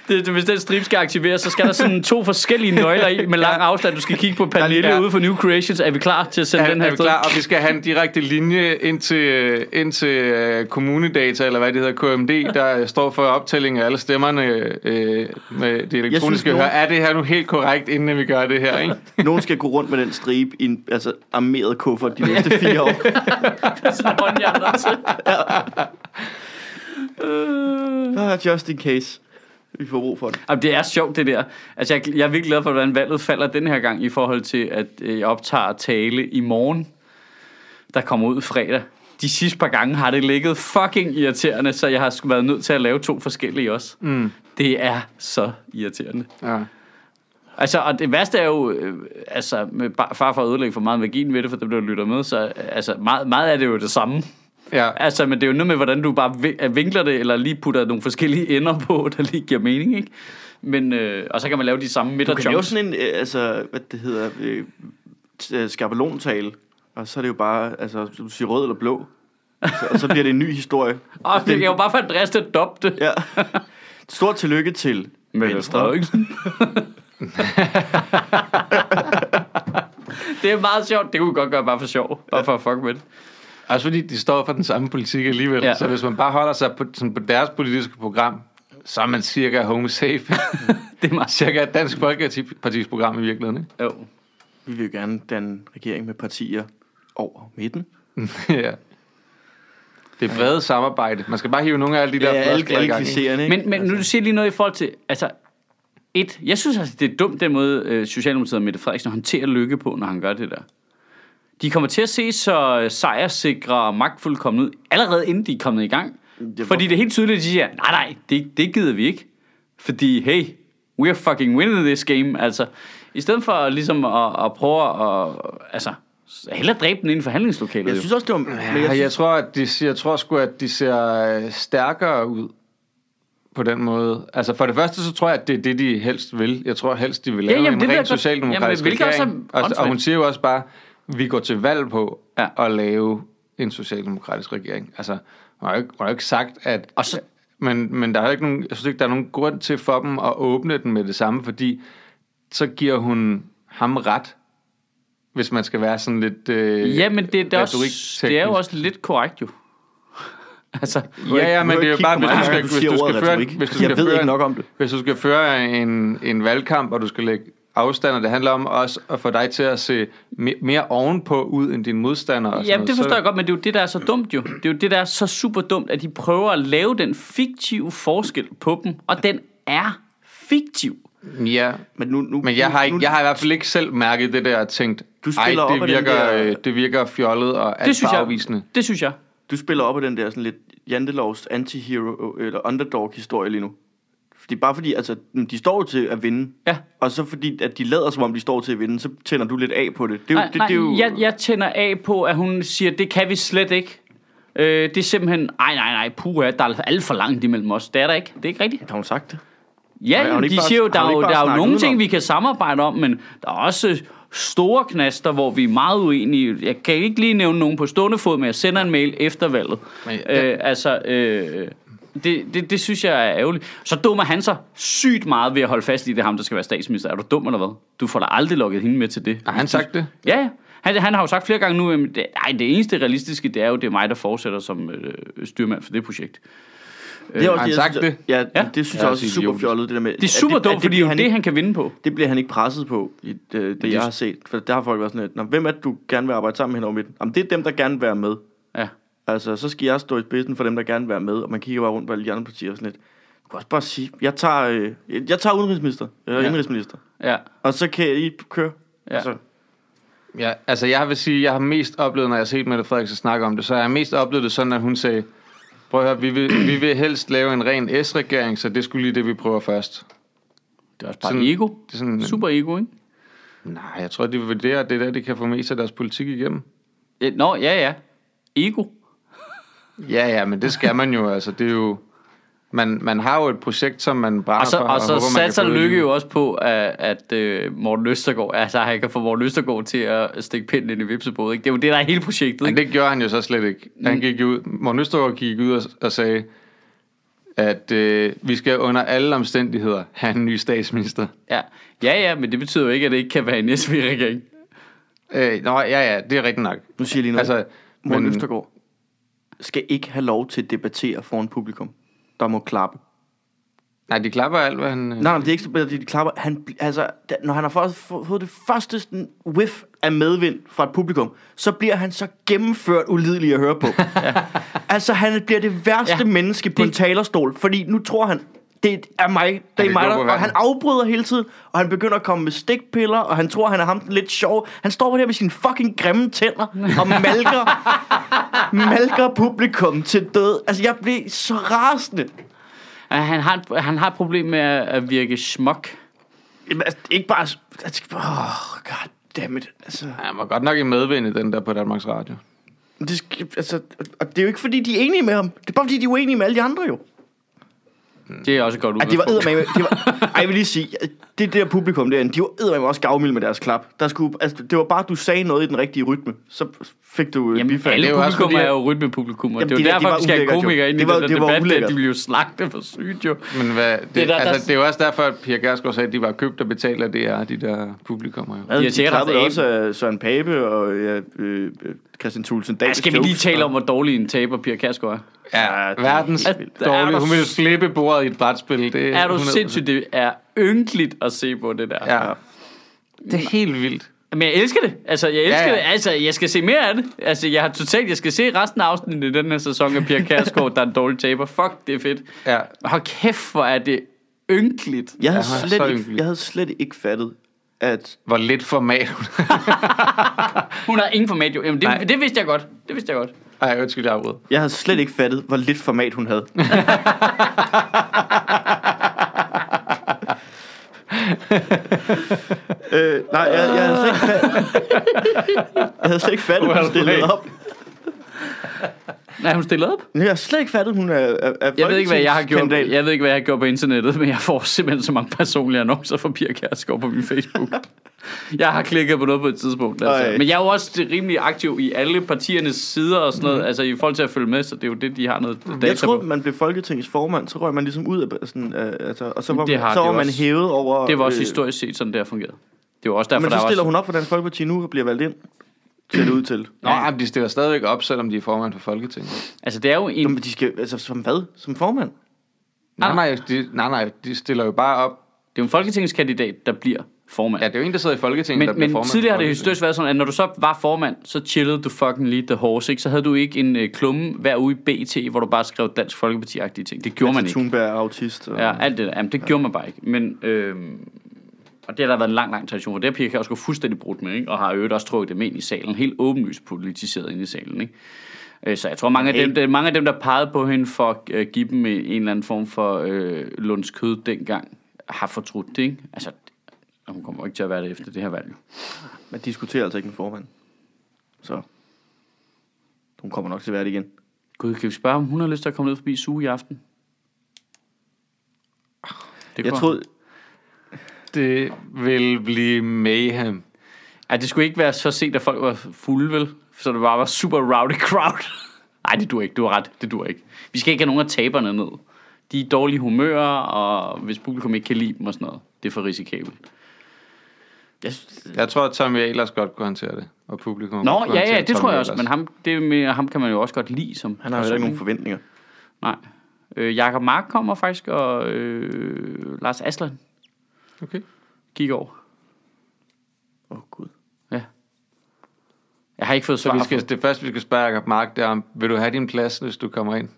Det, det, hvis den strip skal aktiveres, så skal der sådan to forskellige nøgler i med lang afstand. Du skal kigge på Pernille
Ja.
ude for New Creations. Er vi klar til at sende
er,
den her
er vi
afsted?
klar? Og vi skal have en direkte linje ind til, ind til øh, kommunedata, eller hvad det hedder, KMD, der står for optælling af alle stemmerne øh, med det elektroniske
nogen-
hør. Er det her nu helt korrekt, inden vi gør det her, ikke?
Nogen skal gå rundt med den stribe i en altså, armeret kuffert de næste fire år.
Sådan håndjern der til.
Ah, just in case. Vi får brug for det.
Jamen, det er sjovt, det der. Altså, jeg, jeg er virkelig glad for, hvordan valget falder den her gang, i forhold til, at øh, jeg optager tale i morgen, der kommer ud fredag. De sidste par gange har det ligget fucking irriterende, så jeg har sgu været nødt til at lave to forskellige også.
Mm.
Det er så irriterende.
Ja.
Altså, og det værste er jo, øh, altså, med ba- far for at ødelægge for meget magien ved det, for dem, der lytter med, så øh, altså, meget, meget er det jo det samme.
ja.
Altså, men det er jo noget med, hvordan du bare vi- øh, vinkler det, eller lige putter nogle forskellige ender på, der lige giver mening, ikke? Men, øh, og så kan man lave de samme
Du kan lave
midterjumps.
sådan en, øh, altså, hvad det hedder, øh, t- øh, skabelontale, og så er det jo bare, altså, du siger rød eller blå, så, og så bliver det en ny historie. Altså,
Og det er jo bare for Andreas til at dobbe det.
Ja. Stort tillykke til Venstre.
Frederiksen. det er meget sjovt. Det kunne vi godt gøre bare for sjov. Bare for at fuck med det.
Også fordi de står for den samme politik alligevel.
Ja.
Ja. Så hvis man bare holder sig på, sådan på deres politiske program, så er man cirka home safe.
Det er meget sjovt.
cirka et dansk folkepartis program i virkeligheden, ikke?
Jo.
Vi vil jo gerne danne regering med partier over midten.
ja. Det er brede samarbejde. Man skal bare hive nogle af alle de der
Ja, alle,
floskler i
alle
gang, ikke?
klichéerne, ikke?
Men, men nu du siger lige noget i forhold til... Altså, et, jeg synes altså, det er dumt den måde, øh, Socialdemokratiet og Mette Frederiksen håndterer lykke på, når han gør det der. De kommer til at se så øh, sejrsikre og magtfuldkommende ud, allerede inden de er kommet i gang.
Det-
Fordi det er helt tydeligt, at de siger, nej, nej, det, det gider vi ikke. Fordi, hey, we are fucking winning this game. Altså, i stedet for ligesom at, at prøve at... Altså, hellere dræbe den inden for handlingslokalet.
Jeg
jo.
synes også, det var... Men
Ja,
jeg
jeg,
synes,
jeg tror, at de, ser- jeg tror sgu, at de ser øh, stærkere ud på den måde. Altså for det første, så tror jeg, at det er det, de helst vil. Jeg tror helst, de vil lave
jamen, det
en
ved jeg
ren
godt. Jamen,
socialdemokratisk
hvilket også er
regering. Og, og hun
åndssvagt.
siger jo også bare, vi går til valg på
Ja.
at lave en socialdemokratisk regering. Altså, hun har jo ikke, hun har jo ikke sagt, at...
Og så-
men, men der er jo ikke nogen, jeg synes ikke, der er nogen grund til for dem at åbne den med det samme, fordi så giver hun ham ret, hvis man skal være sådan lidt... Øh,
Ja, men det, det, er, også, det er jo
retorikteknisk.
også lidt korrekt jo. altså,
Ja, ja, men det er jo bare, hvis du skal,
du
hvis du
siger
skal
ordet
føre,
retorik.
hvis du
Jeg
skal
ved
føre,
ikke nok om det.
Hvis du skal føre en, en valgkamp, og du skal lægge afstand, og det handler om også at få dig til at se me- mere ovenpå ud end dine modstandere. og sådan
Jamen, det
noget, så-
forstår jeg godt, men det er jo det, der er så dumt jo. Det er jo det, der er så super dumt, at de prøver at lave den fiktive forskel på dem, og den er fiktiv.
Ja,
Men, nu, nu,
men jeg har, ikke,
nu-
jeg har i hvert fald ikke selv mærket det der og tænkt,
Du
ej,
spiller op
det
ad den
virker,
der-
øh, det virker fjollet og alt
Det synes jeg.
farvevisende.
Det synes jeg.
Du spiller op af den der sådan lidt jantelovs anti-hero eller underdog-historie lige nu. Fordi bare fordi, altså, de står jo til at vinde.
Ja.
Og så fordi, at de lader som om, de står til at vinde, så tænder du lidt af på det. Det er jo,
Nej,
det,
nej,
det er jo
jeg, jeg tænder af på, at hun siger, det kan vi slet ikke. Øh, det er simpelthen, nej, nej, nej, puha, der er alt for langt imellem os. Det er der ikke. Det er ikke rigtigt.
Har hun sagt det?
Ja,
har hun
jamen,
ikke
de
bare-
siger jo,
har
der
hun
er jo,
ikke bare
der er jo
snakket
nogle ting,
udenom?
vi kan samarbejde om, men der er også store knaster, hvor vi er meget uenige. Jeg kan ikke lige nævne nogen på stående fod, men jeg sender en mail efter valget.
Men-
Øh, altså, øh, det, det, det synes jeg er ærgerligt. Så dummer han sig sygt meget ved at holde fast i, det er ham, der skal være statsminister. Er du dum eller hvad? Du får da aldrig lukket hende med til det.
Har han sagt det?
Ja, ja. Han, han har jo sagt flere gange nu, at det, ej, det eneste realistiske, det er jo, det er mig, der fortsætter som øh, styrmand for det projekt.
Det er
Øh, har han
jeg
sagt
synes,
det?
Ja,
Ja.
det synes
Ja,
jeg også er
det er
super
idiotisk.
fjollet, det der med...
Det er super dumt, fordi det er jo det,
ikke-
han kan vinde på.
det bliver han ikke presset på, i øh, det, det, det jeg har set. For der har folk været sådan lidt, "Nå, hvem er det, du gerne vil arbejde sammen med hen over midten? Jamen, det er dem, der gerne vil være med.
Ja.
Altså, så skal jeg stå i spidsen for dem, der gerne vil være med, og man kigger bare rundt på alle de andre partier og sådan lidt. Du kan også bare sige, jeg tager, øh, jeg jeg tager udenrigsminister, eller
Ja.
ja. indrigsminister,
Ja.
og så kan I køre.
Ja.
Altså,
Ja, altså jeg vil sige, jeg har mest oplevet, når jeg har set Mette Frederiksen snakke om det, så har jeg mest oplevet det sådan, at hun sagde, prøv at høre, vi vil, vi vil helst lave en ren S-regering, så det skulle lige det, vi prøver først.
Det er også bare
Sådan-
ego.
Det er sådan,
Super ego, ikke?
Nej, jeg tror, de vil vurdere, at det er der, de kan få mest af deres politik igennem.
Ja, Nå, ja, ja. Ego.
Ja, ja, men det skal man jo, altså. Det er jo... man, man har jo et projekt, som man brænder
Og så,
for.
og så
håber, man kan
satser
få
Lykke
udlivet.
altså, jo også på, at, at øh, Morten Østergaard, altså han kan få Morten Østergaard til at stikke pinden ind i vipsebådet. Ikke? Det er jo det, der er hele projektet.
Men
Ikke? Mm.
det gjorde han jo så slet ikke. Han gik jo ud, Morten Østergaard gik ud og, og sagde, at øh, vi skal under alle omstændigheder have en ny statsminister.
Ja. ja, ja, men det betyder jo ikke, at det ikke kan være en SV-regering.
Øh, nå, ja, ja, det er rigtigt nok.
Nu siger jeg lige noget.
Altså,
Altså,
men-
Morten men... Østergaard skal ikke have lov til at debattere foran publikum. Der må klappe.
Nej, de klapper alt, hvad han... øh,
Nej, nej, det er ikke så bedre, de klapper. Han, bl- altså, da, når han har fået, fået det første sådan whiff af medvind fra et publikum, så bliver han så gennemført ulidelig at høre på. altså, han bliver det værste
Ja,
ja, menneske på
det-
det... en talerstol, fordi nu tror han, det er mig, det
kan
er mig,
gå
der,
på
og
vandet.
han afbryder hele tiden, og han begynder at komme med stikpiller, og han tror, han er ham den lidt sjov. Han står på det her med sine fucking grimme tænder og malker, malker publikum til død. Altså, jeg blev så rasende.
Ah, Han har, et- han har et problem med at, at virke smuk.
Jamen, altså, ikke bare... Altså, oh, god damn it. Altså,
Han var godt nok i medvind i den der på Danmarks Radio.
det, skal- altså, og det er jo ikke, fordi de er enige med ham. Det er bare, fordi de er uenige med alle de andre, jo.
Det er også et godt
At det var
udgangspunkt.
eddermame... Det var, ej, jeg vil lige sige, det der publikum derinde, de var eddermame også gavmilde med deres klap. Der skulle, altså, det var bare, at du sagde noget i den rigtige rytme. Så fik du øh,
Jamen,
bifald.
alle
Det er jo også
publikum
fordi,
er jo rytmepublikum, og det
Jamen,
er jo
det- det
derfor,
var
vi skal have
ulækkert, jo.
komikere ind i
Det var-
den der
det var
debat, der,
ulækkert.
de bliver jo slagtet for sygt jo.
Men hvad, det,
Det der-
det, der, altså,
der-
det er jo også derfor, at Pia Gersgaard sagde, at de var købt og betalt af DR, de der publikummer. Jo.
Ja,
de har
de,
sikkert
klappede
haft
også af Søren Pape og ja, øh, øh, Christian Thulsen Dahl.
Ja, skal vi lige tale om, hvor dårlig en taber Pia Kærsgaard er?
Ja,
Ja, det er
verdens
helt
vildt. Er
dårlige.
du
Hun ville slippe bordet i et brætspil. Det,
Er du
100%.
sindssygt? Det er ynkeligt at se på det der.
Ja. Det er helt vildt.
Men jeg elsker det. Altså, jeg elsker ja,
Ja,
ja.
ja.
det. Altså, jeg skal se mere af det. Altså, jeg har totalt... Jeg skal se resten af afsnittet i den her sæson af Pia Kærsgaard, der er en dårlig taber. Fuck, det er fedt.
Ja.
Hold kæft, hvor er det ynkeligt.
Jeg
Ja,
havde,
så
slet ikke,
ynkeligt.
jeg havde slet ikke fattet, at
Hvor lidt format hun
Hun har ingen format, jo. Jamen,
Nej.
det, det vidste jeg godt. Det vidste jeg godt.
Ej, undskyld, jeg afbrød.
Jeg havde slet ikke fattet, hvor lidt format hun havde. øh, nej, jeg, jeg, havde slet ikke fattet, jeg havde slet ikke fattet, hun
Well
stillede
played.
op.
Nej, hun stillede op.
Jeg har slet ikke fattet, hun er, er, er
Jeg ved ikke, hvad jeg har gjort.
folketingskandidat.
Jeg ved ikke, hvad jeg har gjort på internettet, men jeg får simpelthen så mange personlige annoncer fra Pia Kærsgaard på min Facebook. jeg har klikket på noget på et tidspunkt. Altså.
Ej.
Men jeg er jo også rimelig aktiv i alle partiernes sider og sådan noget, altså i forhold til at følge med, så det er jo det, de har noget data
Mhm. Jeg troede,
på.
man blev folketingets formand, så røg man ligesom ud af sådan, øh, altså, og så var,
Det
det
har
har, så
det
var man
også.
hævet over...
Det var også
øh,
historisk set sådan, det har fungeret. Det var også derfor,
Men
der
så
var
stiller
også...
hun op for Dansk Folkeparti nu og bliver valgt ind. Ser det ud til.
Nå, ja. men de stiller stadigvæk op, selvom de er formand for Folketinget.
Altså, det er jo
Nå,
en...
men de skal, altså, som hvad? Som formand?
Nej,
Ah.
nej, de, nej, nej, de stiller jo bare op.
Det er jo en folketingskandidat, der bliver formand.
Ja, det er jo en, der sidder i Folketinget, der
Men,
bliver
men
formand.
tidligere har
for
det
Folketinget.
historisk været sådan, at når du så var formand, så chillede du fucking lige the horse, ikke? Så havde du ikke en øh, klumme hver uge i BT, hvor du bare skrev Dansk Folkeparti-agtige ting. Det gjorde man
Altså,
ikke.
Thunberg er autist. Og...
Ja, alt det der. Jamen, det gjorde man bare ikke. Men, øhm, og det har der været en lang, lang tradition for. Det har Pia Kjærsgaard fuldstændig brudt med, ikke? Og har i øvrigt også trukket dem ind i salen. Helt åbenlyst politiseret ind i salen, ikke? Øh, Så jeg tror, mange af, dem, der, mange af dem, der pegede på hende for at øh, give dem en eller anden form for øh, lunds kød dengang, har fortrudt det, ikke? Altså, hun kommer jo ikke til at være det efter det her valg.
Man diskuterer altså ikke med formand. Så hun kommer nok til at være det igen.
Gud, kan vi spørge, om hun har lyst til at komme ned forbi Sue i aften? Det
Jeg
kunne-
troede,
Det vil blive mayhem.
Ej, det skulle ikke være så sent, at folk var fulde, vel? Så det bare var super rowdy crowd. Nej, det dur ikke. Du har ret. Det dur ikke. Vi skal ikke have nogen af taberne ned. De er i dårlige humører, og hvis publikum ikke kan lide dem og sådan noget, det er for risikabelt. Jeg synes...
Jeg tror, at Tommy Ahlers godt kunne håndtere det. Og publikum godt
Nå,
kunne
ja,
håndtere
ja, det
Tommy
tror jeg også,
Ahlers.
men ham, det med, ham kan man jo også godt lide. Som
han har jo heller ikke nogen forventninger.
Nej. Øh, Jakob Mark kommer faktisk, og øh, Lars Aslan
Okay.
gik over.
Åh, oh, Gud.
Ja. Jeg har ikke fået
Så
svar
vi
skal...
skal, det første, vi skal spørge Jacob Mark, det er, om, vil du have din plads, hvis du kommer ind?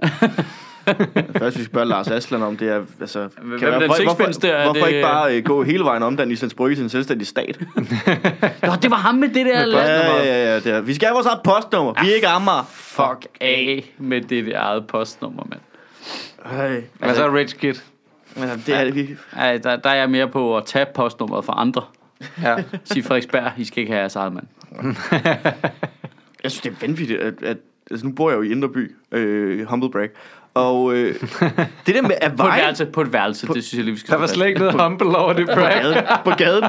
Det første, vi spørger Lars Aslan om, det er, altså... Kan
er den sixpence der? Er
hvorfor
det-
ikke bare øh, gå hele vejen om den Islands Brygge til en selvstændig stat?
Nå, det var ham med det der...
ja,
Med
ja, ja, ja, det er. Vi skal have vores eget postnummer. Vi er ikke Amager.
Ah, Fuck af med det der eget postnummer, mand.
Ej,
Hvad så, Rich Kid?
altså, det er det, vi...
Ej, der, der er jeg mere på at tage postnummeret fra andre.
Ja.
Sig Frederiksberg, I skal ikke have jeres eget, mand.
Jeg synes, det er vanvittigt, at, at altså, nu bor jeg jo i Indreby, øh, humble brag, Og øh, det der med, at
På et
vejen...
værelse, på et værelse det synes jeg lige, vi skal
Der var slet ikke noget humble over det
På
prank.
gaden, på gaden.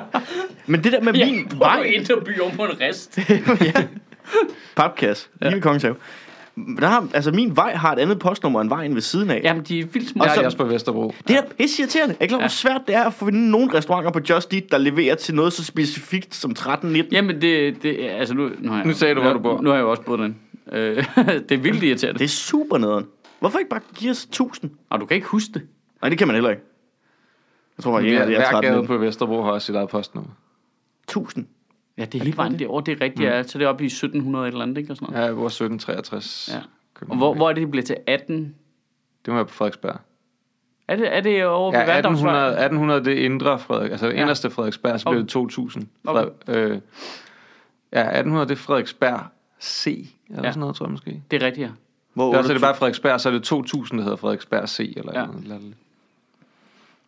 Men det der med min
Min
vej...
vej ind og by om på en rest.
ja. Papkasse. Lige ved Kongens Have. Men Der har, altså, min vej har et andet postnummer end vejen ved siden af. Ja.
Jamen, de er vildt små.
Der er
Så,
de også på Vesterbro.
Det er pisse irriterende. Er I klar, hvor
Ja.
svært det er at finde nogle restauranter på Just Eat, der leverer til noget så specifikt som 13-19?
jamen, det, det altså nu... Nu, har jeg,
Nu sagde du, hvor du bor.
Nu har jeg jo også boet den. Øh, det er vildt irriterende.
Det er super nederen. Hvorfor ikke bare give os 1000?
Og du kan ikke huske det.
Nej, det kan man heller ikke. Jeg tror faktisk ikke,
Ja,
at det er
hver
13
gade
nitten.
på Vesterbro har også sit eget postnummer.
1000.
Ja, det er hele vejen derovre, det er rigtigt. Ja,
Mm.
så er det er oppe i 1700 et eller andet, ikke? Og sådan noget.
Ja, jeg bor 1763.
Ja.
København.
Og hvor, hvor er det, det bliver til 18?
Det må være på Frederiksberg.
Er det, er det over ved
Ja,
Vanddomsvej?
1800, 1800 det er indre Frederik, altså det
Ja.
inderste Frederiksberg, så blev det 2000.
Okay.
Frederik, øh, ja, 1800 det er Frederiksberg C, eller
Ja.
sådan noget, tror jeg måske.
Det er rigtigt, ja.
Hvor
Eller så er
28,
det bare Frederiksberg, så er det 2000, der hedder Frederiksberg C, eller
Ja.
ja. noget.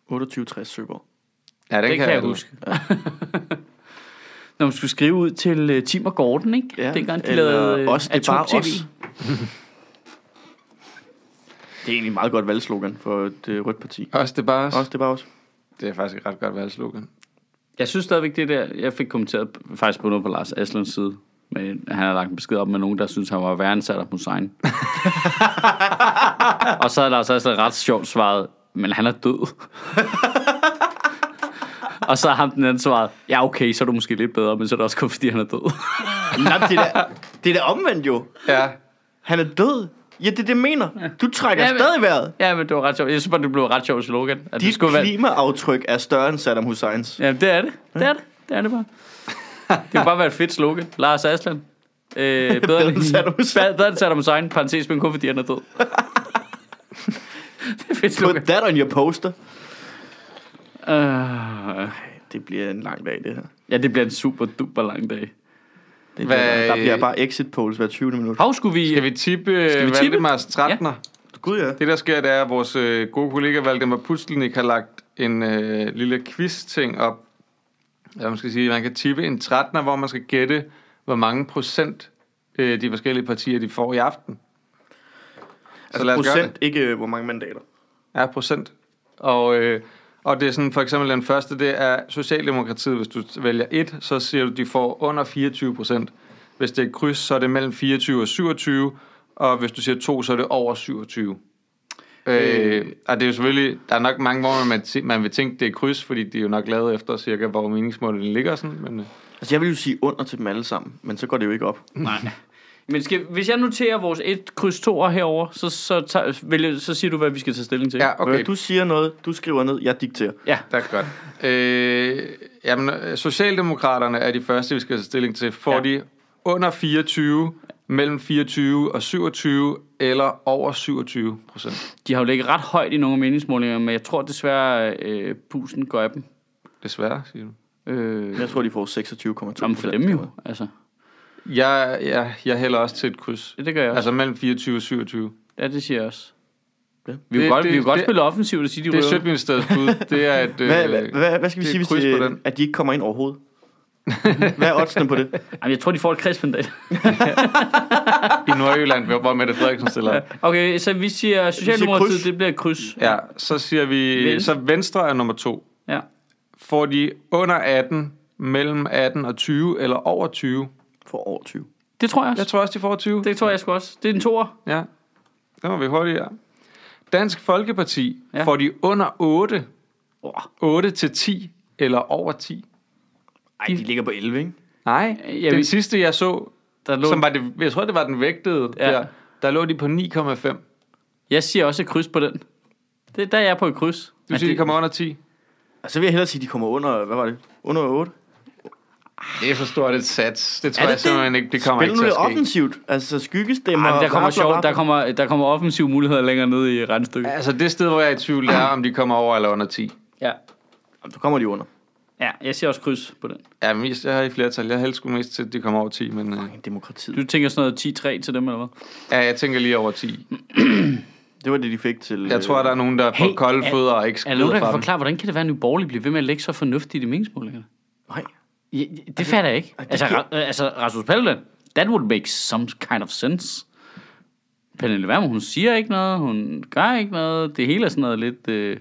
2860 Søborg.
Ja, den
Det kan jeg
du.
huske. Når man skulle skrive ud til uh, Tim og Gordon, ikke?
Ja,
Dengang de
eller
lavede øh,
os, det er bare
Atom-TV.
os. Det er egentlig et meget godt valgslogan for et øh, rødt parti.
Også det er bare os.
Også det er bare også.
Det er faktisk et ret godt valgslogan.
Jeg synes stadigvæk det der, jeg fik kommenteret faktisk på noget på Lars Aslunds side, men han har lagt en besked op med nogen, der synes, han var værre end Saddam Hussein. og så havde Lars Aslund ret sjovt svaret, men han er død. og så har ham den anden svaret, ja okay, så er du måske lidt bedre, men så er det også kun fordi, han er død.
Nej, det er da, det er da omvendt jo.
Ja,
Han er død. Ja, det er det, jeg mener. Du trækker
Ja, men-
stadig vejret.
ja, men det var ret sjovt. Jeg synes bare, det blev et ret sjovt slogan. At det
Dit
skulle være...
klimaaftryk er større end Saddam Husseins.
Ja, det er det. Det er det. Det er det bare. Det kunne bare være et fedt slogan. Lars Aslan. Øh, bedre,
end Saddam Hussein.
Bedre end Saddam Hussein. Parenthes, men kun fordi han er død. det er et fedt slogan.
Put that on your poster.
Uh,
Det bliver en lang dag, det her.
ja, det bliver en super duper lang dag.
Det
Hvad-
bliver, der bliver bare exit polls hver 20. minut.
Hov, skulle vi...
skal vi tippe,
vi
skal vi
tippe?
tippe? Valdemars 13'er? Ja.
Gud, ja.
Det der sker, det er, at vores øh, gode kollega Valdemar Pustelnik har lagt en øh, lille quiz-ting op. Eller man skal sige, man kan tippe en 13'er, hvor man skal gætte, hvor mange procent øh, de forskellige partier, de får i aften. Så
Altså
lad os gøre
procent, ikke øh, hvor mange mandater.
Ja, procent. Og, øh, og det er sådan, for eksempel den første, det er Socialdemokratiet. Hvis du vælger et, så siger du, de får under 24 procent. Hvis det er et kryds, så er det mellem 24 og 27. Og hvis du siger to, så er det over 27. Øh, og det er jo selvfølgelig, der er nok mange, hvor man, tæ- man vil tænke, det er kryds, fordi de er jo nok lavet efter cirka, hvor meningsmålene ligger og sådan. Men, øh,
Altså, jeg vil jo sige under til dem alle sammen, men så går det jo ikke op.
Nej. Men skal, hvis jeg noterer vores 1 kryds 2 herover, så, så, tager, vælger, så siger du, hvad vi skal tage stilling til.
ja, okay.
Du siger noget, du skriver ned, jeg dikterer.
Det er godt. Øh, jamen, Socialdemokraterne er de første, vi skal tage stilling til. Får
Ja.
ja. de under 24, mellem 24 og 27, eller over 27 procent?
De har jo ligget ret højt i nogle af meningsmålinger, men jeg tror desværre, øh, pusen går af dem.
Desværre, siger du.
Øh,
Jeg tror, de får 26,2
Nå, men for dem jo, altså.
Jeg, jeg, jeg hælder også til et kryds.
Det, det gør jeg også.
Altså mellem 24 og 27.
Ja, det siger jeg også.
Ja.
Vi vil
Det-
godt,
det-
vi vil godt
det-
spille offensivt og sige, de
Det er
ryger.
Sjøtministeriets bud. Det er et...
Hvad, hvad,
Øh,
hvad, hvad skal
det
vi
er
sige, hvis
kryds på
de,
den.
at de ikke kommer ind overhovedet? Hvad er oddsene på det?
Jamen, jeg tror, de får et kredsmandat.
I Nordjylland, hvor hvor Mette Frederiksen stiller op.
Okay, så vi siger, Socialdemokratiet,
kryds.
det bliver et kryds.
Ja, så siger vi...
Venstre.
Så Venstre er nummer to.
Ja.
Får de under 18, mellem 18 og 20, eller over 20?
For over 20.
Det tror jeg også.
Jeg tror også, de får 20.
Det tror jeg sgu også. Det er en toer.
Ja, det var vi hurtigere. Dansk Folkeparti,
Ja.
ja. får de under 8,
Oh,
8 til 10 eller over 10?
Ej, de ligger på 11, ikke?
Nej,
Jeg
den
vil-
sidste jeg så,
der lå...
som var det, jeg tror det var den vægtede,
Ja.
ja. der, der lå de på 9,5.
Jeg siger også et kryds på den. Det, der er jeg på et kryds.
Du siger, de
det,
kommer under 10.
Altså, så vil jeg hellere sige, at de kommer under, hvad var det? Under 8?
Det er for stort et sats. Det
Er
tror
det
jeg simpelthen ikke, det kommer
Spil
ikke
nu
til
det
at ske.
offensivt. Altså, skyggestemmer.
Ej, men der kommer,
bla, bla,
sjov,
bla.
der, kommer, der kommer offensive muligheder længere nede i regnstykket.
Altså det sted, hvor jeg er i tvivl, det er, om de kommer over eller under 10.
Ja.
Jamen, Så kommer de under.
ja, jeg siger også kryds på den.
Ja, mest, jeg har i flertal. Jeg helst skulle mest til, at de kommer over 10, men øh,
Fucking demokratiet.
Du tænker sådan noget 10-3 til dem, eller hvad?
ja, jeg tænker lige over 10.
Det var det, de fik til...
Jeg tror, der er nogen, der er på
Hey,
kolde
er-
fødder og ikke
Er der nogen,
skrider
der kan
fra dem.
forklare, hvordan kan det være, at Nye Borgerlige bliver ved med at lægge så fornuftigt i meningsmålingerne?
Nej.
Ja, ja, det fatter jeg ikke.
ej, det
Altså,
kan-
Ra- altså Rasmus Paludan, that would make some kind of sense. Pernille Wermund, hun siger ikke noget, hun gør ikke noget. Det hele er sådan noget lidt... Øh,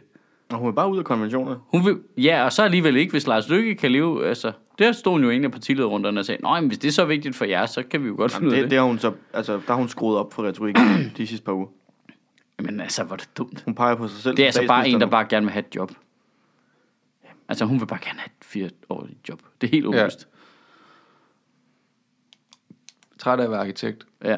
Og hun er bare ude af konventionerne.
hun vil, ja, og så alligevel ikke, hvis Lars Lykke kan leve... Altså, der stod hun jo egentlig af partilederrunderne og sagde, nej, men hvis det er så vigtigt for jer, så kan vi jo godt finde
Det,
ud af
det.
det.
det har hun så, altså, der har hun skruet op for retorik de sidste par uger.
Men altså, hvor er det dumt.
Hun peger på sig selv.
Det er
som
altså bare en,
statsminister
der
nu.
bare gerne vil have et job. Altså, hun vil bare gerne have et fireårigt job. Det er helt åbenlyst.
Træt af at være arkitekt.
Ja.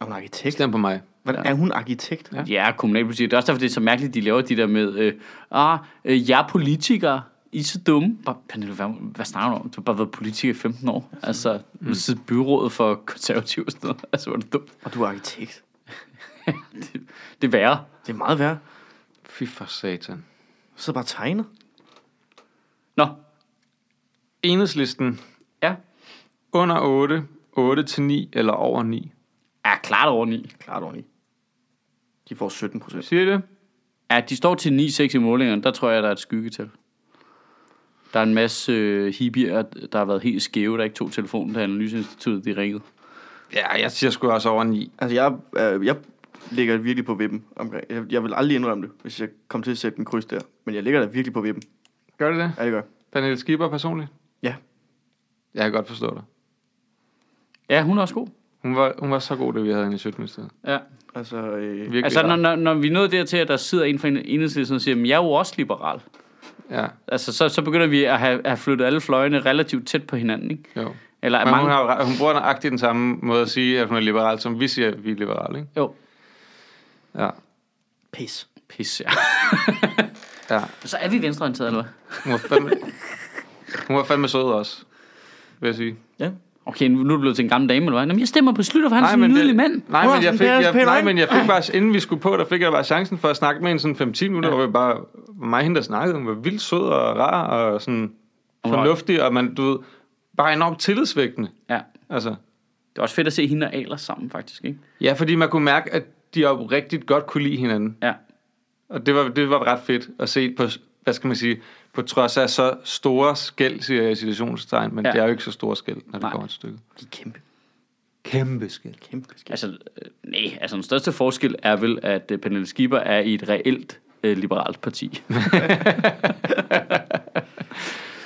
Er hun arkitekt?
Stem på mig.
Hvordan, er hun arkitekt? Ja.
Ja, kommunalpolitik. Det er også derfor, det er så mærkeligt, de laver de der med, øh, ah, øh, jeg er politiker, I er så dumme. Bare, Pernille, Vermund, hvad snakker du om? Du har bare været politiker i 15 år. Altså, mm. du sidder i byrådet for konservative og sådan noget. Altså, hvor er det dumt.
Og du er arkitekt.
det, det er værre.
Det er meget værre.
Fy for satan.
Du sidder bare og tegner.
Nå,
Enhedslisten.
ja.
Under 8, 8 til 9 eller over 9.
Ja, klart over 9.
Klart ordentligt. De får 17 procent.
Siger I det?
Ja, de står til 9-6 i målingerne. Der tror jeg, der er et skygge til. Der er en masse øh, hippier, der har været helt skæve, der ikke tog telefonen, da Analyseinstituttet de ringede.
Ja, jeg siger sgu også over 9.
Altså, jeg, øh, jeg ligger virkelig på vippen. Omkring. Jeg, jeg vil aldrig indrømme det, hvis jeg kom til at sætte en kryds der. Men jeg ligger da virkelig på vippen.
Gør det det?
Ja, det gør jeg.
Pernille Skipper personligt?
Ja.
Jeg kan godt forstå dig.
Ja, hun er også god.
Hun var, hun var så god, det vi havde hende i 17. sted.
Ja.
Altså, øh,
Virkelig.
Altså, når, når, når vi nåede dertil, at der sidder en fra enhedslisten og siger, at jeg er jo også liberal.
Ja,
Altså, så, så begynder vi at have, have flyttet alle fløjene relativt tæt på hinanden, ikke?
jo.
Eller at
Men hun,
mange...
har, jo re- hun bruger nøjagtigt den samme måde at sige, at hun er liberal, som vi siger, at vi er liberale, ikke?
Jo,
Ja,
pis.
pis, ja.
ja.
Så er vi venstreorienterede, eller hvad?
Hun var fandme, hun var fandme sød også, vil jeg sige.
Ja.
Okay, nu nu er du blevet til en gammel dame, eller hvad? Jamen, jeg stemmer på Slytter, for han er sådan en
det-
nydelig mand.
Nej,
Hun er
men jeg
sådan
fik,
en
jeg,
pæn
nej,
dreng.
men jeg fik bare, inden vi skulle på, der fik jeg bare chancen for at snakke med en sådan 5-10 minutter, ja. hvor vi bare, mig og hende, der snakkede, hun var vildt sød og rar og sådan
var-
fornuftig, og man, du ved, bare enormt tillidsvægtende.
Ja.
Altså,
Det er også fedt at se hende og Aler sammen, faktisk, ikke?
ja, fordi man kunne mærke, at de oprigtigt godt kunne lide hinanden.
Ja.
Og det var, det var ret fedt at se på, hvad skal man sige, på trods af så store skæld, siger jeg i situationstegn, men
Ja.
ja. det er jo ikke så store skæld, når det
Nej.
kommer til stykket.
De er kæmpe.
Kæmpe skæld.
Kæmpe skæld.
Altså, øh, nej, altså den største forskel er vel, at øh, Pernille Skipper er i et reelt øh, liberalt parti.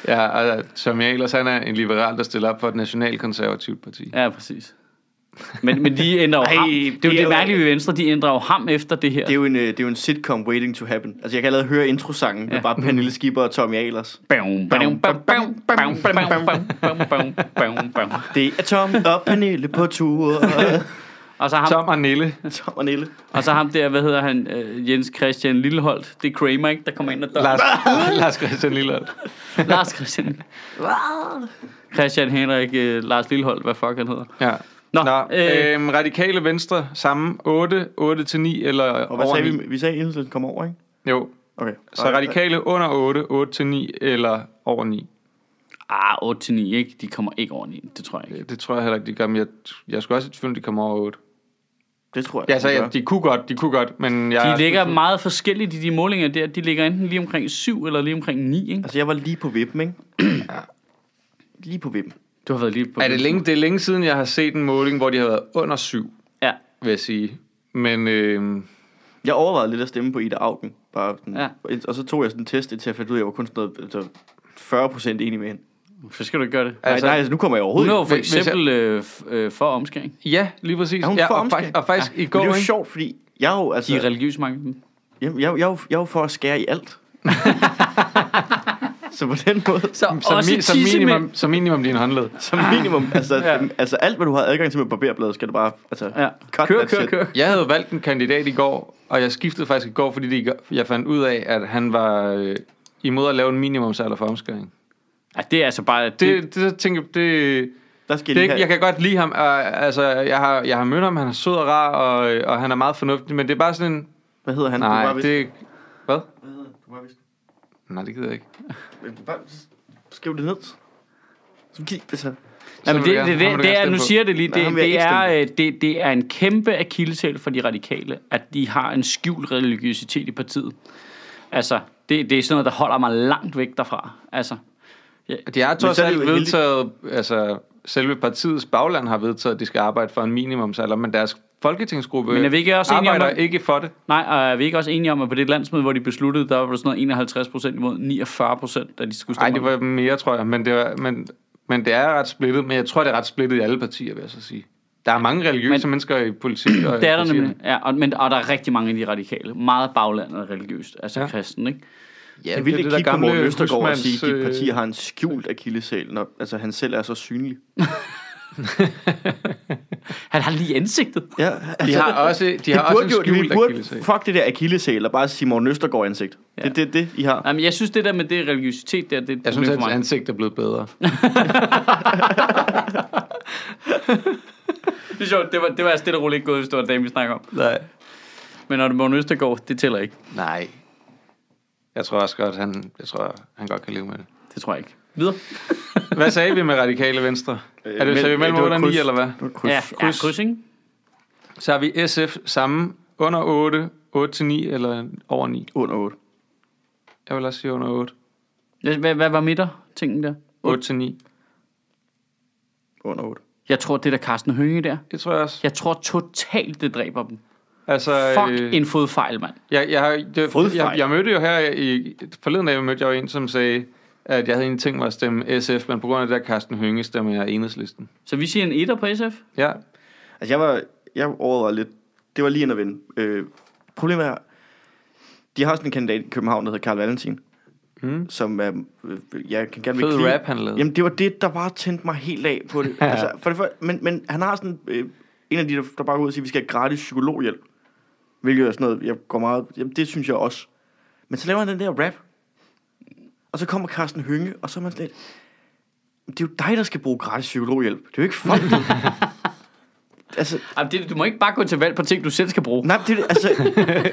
Ja, og Tommy Ahlers, han er en liberal, der stiller op for et nationalkonservativt parti.
ja, præcis. Men, men de ændrer jo
Ej,
ham. Det er jo
de er
det
jo-
mærkelige ved Venstre, de ændrer jo ham efter det her.
Det er, jo en, øh, det er jo en sitcom waiting to happen. Altså, jeg kan allerede høre introsangen ja. med bare Pernille Skipper og Tommy Ahlers.
Bam, bam, bam, bam, bam, bam, bam, bam, bam, bam, bam.
Det er Tom og Pernille på tur.
Og så ham,
Tom og Nille.
Tom og Nille.
og så ham der, hvad hedder han, øh, Jens Christian Lilleholdt. Det er Kramer, ikke? Der kommer ind og dør.
Lars, Lars Christian Lillard.
Lars Christian. Christian Henrik, øh, Lars Lilleholdt, hvad fuck han hedder.
Ja.
Nå,
Nå, Nå
øh,
øh, øhm, radikale venstre, samme 8, 8 til 9 eller
Og hvad
over
sagde
9.
vi? Vi sagde, at Enhedslisten kom over, ikke?
Jo,
Okay.
så radikale under 8, 8 til 9 eller over 9.
Ah, 8-9, ikke? De kommer ikke over 9, det tror jeg ikke.
Det tror jeg heller ikke, de gør, men jeg, jeg skulle også i tvivl, de kommer over 8.
Det tror jeg.
Ja, så
hun
ja,
gør.
de kunne godt, de kunne godt, men jeg... er
De
også
ligger
lidt-
meget forskelligt i de målinger der. De ligger enten lige omkring 7 eller lige omkring 9, ikke?
Altså, jeg var lige på vippen, ikke? Lige på vippen.
Du har været lige på...
Er det, længe, det er længe siden, jeg har set en måling, hvor de har været under 7,
Ja.
vil jeg sige. Men øh,
Jeg overvejede lidt at stemme på Ida Augen. Bare sådan,
Ja.
ja. Og så tog jeg sådan en test, til jeg fandt ud af, at jeg var kun sådan noget, altså 40 procent enig med hende.
Så skal du ikke gøre det.
Altså,
Altså-
nej, nej, altså, nu kommer jeg overhovedet
Hun er jo
ikke.
for
hvis- hvis
eksempel øh, f- øh, for omskæring.
ja, lige præcis.
Er hun
ja,
for
og,
omskæring?
faktisk, og faktisk i
Men
går,
det er jo
ikke?
sjovt, fordi jeg er jo, altså,
De er
jeg,
religiøs mange af dem.
jeg, jeg, er jo- jeg er jo for at skære i alt. så på den måde,
Så,
Som, mi, som, minimum,
tissemænd.
som minimum din håndled.
som minimum, altså,
Ja.
ja. altså alt, hvad du har adgang til med barberbladet, skal du bare, altså,
Ja.
cut
Kør,
that
kør,
shit.
kør.
Jeg havde valgt en kandidat i går, og jeg skiftede faktisk i går, fordi det, i går- jeg fandt ud af, at han var øh, imod at lave en minimumsalder for omskæring.
Ja, det er altså bare...
Det,
Det,
det, det tænker jeg, det,
Der skal
det, er
jeg lige
ikke- jeg
have,
kan godt lide ham. Og, altså, jeg har, jeg har mødt ham, han er sød og rar, og, øh, og han er meget fornuftig, men det er bare sådan en...
hvad hedder han? du
Nej,
bare vidste-
det... Hvad?
Hvad hedder han? Du bare vidste-
Nej, det gider jeg ikke.
Men du bare s- Skriv det ned. Så altså- gik det så.
ja, men
Så vil
det,
jeg-
det,
ham
det,
vil
det
jeg
er,
gerne
nu
stemme
siger jeg det lige,
Nej,
det,
ham vil jeg
det,
ikke
er,
stemme
øh, det, det er en kæmpe akillesæl for de radikale, at de har en skjult religiøsitet i partiet. Altså, det, det er sådan noget, der holder mig langt væk derfra. Altså,
De har trods
så er det jo
alt
heldigt.
vedtaget, altså selve partiets bagland har vedtaget, at de skal arbejde for en minimumsalder, men deres folketingsgruppe
Men er vi ikke også enige om,
arbejder
at-
ikke for det.
Nej, og er vi ikke også enige om, at på det landsmøde, hvor de besluttede, der var der sådan noget 51 procent imod 49 procent, da de skulle
Nej,
stemme?
det var mere, tror jeg. Men det, var, men, men det er ret splittet. Men jeg tror, det er ret splittet i alle partier, vil jeg så sige. Der er mange religiøse men, mennesker i politik. Og
det er der
partierne.
nemlig. Ja, og, men, og der er rigtig mange af de radikale. Meget baglandet og religiøst, altså ja.
Ja.
kristen, ikke?
Ja,
Jeg ville
det er det
ikke kigge
der
på Morten
gamle
Østergaard og
husmands,
sige, at dit
øh,
parti har en skjult akillesal, når altså, han selv er så synlig.
Han har lige ansigtet.
Ja,
De
altså,
har også, de
det
har også en
burde jo, vi
skjult
burde,
akillesæl.
fuck det der akillesal og bare sige Morten Østergaard ansigt. Ja. Det er det, det, I har.
Nej, men jeg synes, det der med det religiøsitet der, det er et
Jeg synes,
problem for
at hans
mig.
ansigt er blevet bedre.
Det er sjovt, det var, altså det var jeg stille og roligt ikke gået, hvis det var en dame, vi snakker om.
Nej.
Men når det er Morten Østergaard, det tæller ikke.
Nej. Jeg tror også godt, han, jeg tror, han godt kan leve med det.
Det tror jeg ikke. Videre.
Hvad sagde vi med radikale venstre?
Øh,
Er det, sagde vi
men-
mellem
det
8
var
og 9,
kryds.
eller hvad?
Kryds.
ja,
Ja.
kryds. Ja, kryds, ikke?
Så har vi SF sammen under 8, 8 til 9 eller over 9.
Under 8.
Jeg vil også sige under 8.
Hvad, hvad, hvad var midter-tingen der?
8 til 9.
Under 8.
Jeg tror, det der Carsten Hønge der.
Det tror jeg også.
Jeg tror totalt, det dræber dem.
Altså,
Fuck
øh,
en fodfejl, mand.
Jeg, jeg, har, det,
Fodfejl.
jeg, jeg mødte jo her i forleden dag, mødte jeg jo en, som sagde, at jeg havde egentlig tænkt mig at stemme SF, men på grund af det der Carsten Hønge stemmer jeg enhedslisten.
Så vi siger en etter på SF.
Ja,
Altså, jeg var, jeg overvejede lidt. Det var lige en at vinde. Øh, problemet er, de har sådan en kandidat i København, der hedder Karl Valentin. Mm. Som er, øh, jeg kan gerne
fed
lide-
rap han lavede.
Jamen, det var det, der bare tændte mig helt af på det. altså, for det første, men, men han har sådan øh, en af de, der, der bare går ud og siger, at vi skal have gratis psykologhjælp. Hvilket er sådan noget, jeg går meget... Jamen, det synes jeg også. Men så laver han den der rap. Og så kommer Carsten Hønge, og så er man slet... Det er jo dig, der skal bruge gratis psykologhjælp. Det er jo ikke folk. altså,
Jamen, det, du må ikke bare gå til valg på ting, du selv skal bruge.
nej, det er det, altså...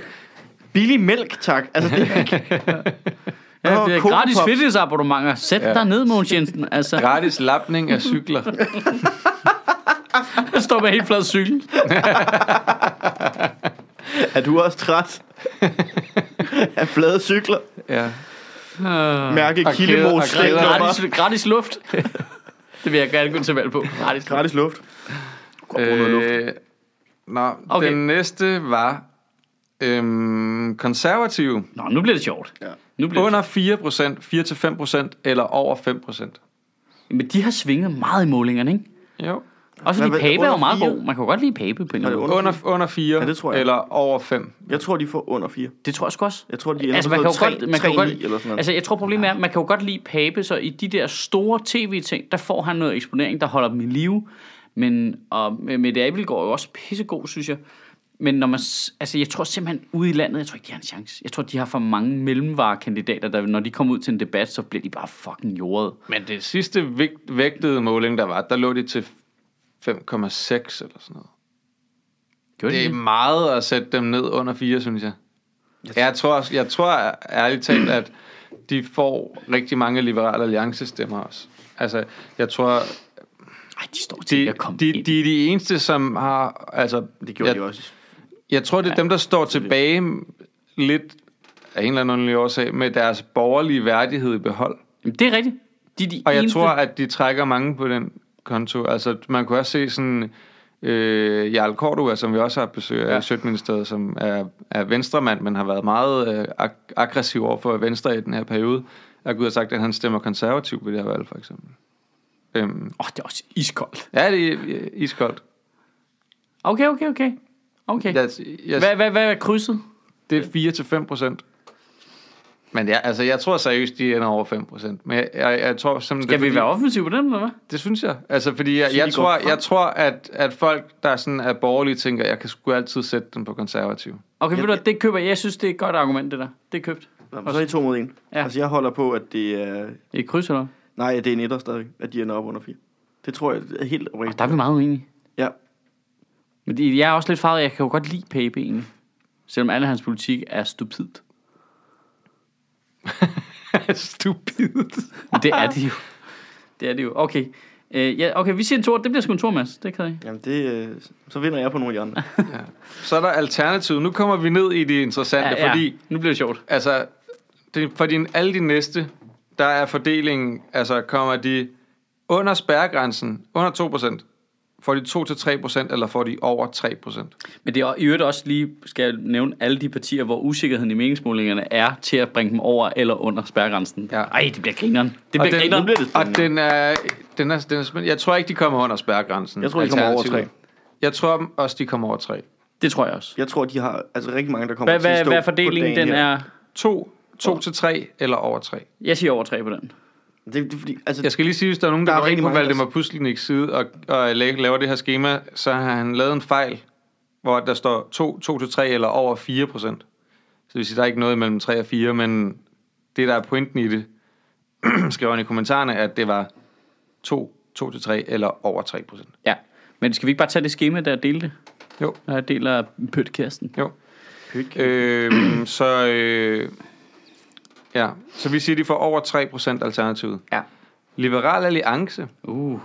Billig mælk, tak. Altså, det er ikke...
Ja,
Nå,
det er
Coco
gratis
Pops.
fitnessabonnementer. Sæt ja.
Ja.
dig ned, Mogens Jensen. Altså,
gratis lapning af cykler.
jeg står med helt flad cykel.
Er du også træt? af flade cykler?
Ja.
Uh,
Mærke
Og kæder- og
kildemos.
kæder.
gratis, gratis luft. det vil jeg gerne gå til valg på. Gratis, gratis.
Gratis luft.
Øh, nå,
Okay.
okay. den næste var øhm, konservative.
Nå, nu bliver det sjovt.
Ja.
Nu bliver det...
Under 4%, 4-5% eller over 5%.
Men de har svinget meget i målingerne, ikke?
Jo.
Også
Hvad-
fordi
hvad-
Pape er jo
under
meget
fire?
god. Man kan jo godt lide Pape på en eller anden måde.
Under
Under, under 4
Ja, det tror jeg.
eller over 5.
Jeg tror, de får under 4.
Det tror jeg sgu også.
Jeg tror, de ender
Altså,
på
man kan jo
sådan
godt,
noget
man kan jo
3-9
godt,
eller sådan noget.
altså, jeg tror problemet er, at man kan jo godt lide Pape, så i de der store tv-ting, der får han noget eksponering, der holder dem i live. Men, og Mette Abelgaard er jo også pissegod, synes jeg. Men når man, s- altså, jeg tror simpelthen ude i landet, jeg tror ikke, de har en chance. Jeg tror, de har for mange mellemvarekandidater, der når de kommer ud til en debat, så bliver de bare fucking jordet.
Men det sidste vægt, vægtede måling, der var, der lå de til 5,6 eller sådan noget.
Gjorde
Det
de
er
det?
meget at sætte dem ned under 4, synes jeg. Jeg tror, også- jeg tror ærligt talt, at de får rigtig mange liberale alliancestemmer også. Altså, jeg tror,
Ej, de står til ikke
de,
at komme
de,
ind.
de er de eneste, som har... Altså,
Det gjorde
jeg,
de også.
Jeg tror, det er dem, der står tilbage lidt af en eller anden underlig årsag med deres borgerlige værdighed i behold.
Jamen, det er rigtigt. De er de
Og jeg
eneste.
tror, at de trækker mange på den konto. Altså, man kunne også se sådan... Øh, Jarl Kortua, som vi også har besøg af ja. Sødministeriet, som er, er venstremand, men har været meget øh, ag- aggressiv over for Venstre i den her periode, er gået ud og sagt, at han stemmer konservativt ved det her valg, for eksempel. Øhm,
Åh, det er også iskoldt.
ja, det er øh, iskoldt.
Okay, okay, okay. Okay.
Jeg, jeg,
Hvad, hvad, hvad er krydset?
Det er 4 til 5 procent. Men jeg, altså, jeg tror seriøst, de ender over 5 procent. Men jeg, jeg, jeg tror simpelthen...
Skal
det er
vi være offensive på den, eller hvad?
Det synes jeg. Altså, fordi jeg,
Så de
jeg,
går
tror,
frem?
jeg tror, at, at folk, der sådan er borgerlige, tænker, jeg kan sgu altid sætte den på konservativ.
Okay, ved du, hvad, det køber jeg. Jeg synes, det er et godt argument, det der. Det er købt.
Og så er I to mod en.
Ja.
Ja. Altså, jeg holder på, at det er...
Et kryds, eller hvad?
Nej, det er en etter stadig, at de ender op under 4. Det tror jeg er helt
Og
oprigtigt.
der er vi meget uenige.
Ja.
Men det- jeg er også lidt farvet. Jeg kan jo godt lide Pape egentlig. Selvom alle hans politik er stupidt.
Stupidt.
Men det er det jo. Det er det jo. Okay. Øh, ja, okay, vi siger en tor. Det bliver sgu en tor, Mads. Det kan jeg.
Jamen, det, øh, så vinder jeg på nogle af de andre.
Så er der alternativet. Nu kommer vi ned i det interessante, ja, ja. fordi
Nu bliver det sjovt.
altså, det, for din, alle de næste, der er fordelingen, altså kommer de under spærregrænsen, under 2%, Får de 2-3%, eller får de over 3%?
Men det er i øvrigt også lige, skal jeg nævne alle de partier, hvor usikkerheden i meningsmålingerne er til at bringe dem over eller under spærgrænsen. Ja.
Ja.
Ej, det bliver grineren. Det
Og
bliver
den-
grineren.
nu
bliver det
Og
spændende.
den er, den er, den er, spændende. jeg tror ikke, de kommer under spærregrænsen.
Jeg tror, de kommer over
Alternativet. Jeg tror også, de kommer over 3.
Det tror jeg også.
Jeg tror, de har altså rigtig mange, der kommer
Hvad,
til at
hvad,
stå
hvad er
på
fordelingen
dagen
den
her.
er?
2, 2 til 3 eller over 3.
Jeg siger over tre på den.
Det, det, er fordi, altså,
Jeg skal lige sige, hvis der er nogen, der,
Der er
der går ind
rigtig
på
mange, der-
Valdemar Pusliniks side og, og la- laver det her schema, så har han lavet en fejl, hvor der står 2, 2 til 3 eller over 4 procent. Så det vil sige, der er ikke noget mellem 3 og 4, men det, der er pointen i det, skrev han i kommentarerne, at det var 2, 2 til 3 eller over 3 procent.
Ja. Men skal vi ikke bare tage det schema, der delte det?
Jo.
Når jeg deler pøtkæresten.
Jo.
Pyt.
Øh, så, øh, ja. så vi siger, de får over 3 procent alternativet.
Ja.
Liberal Alliance
Uh.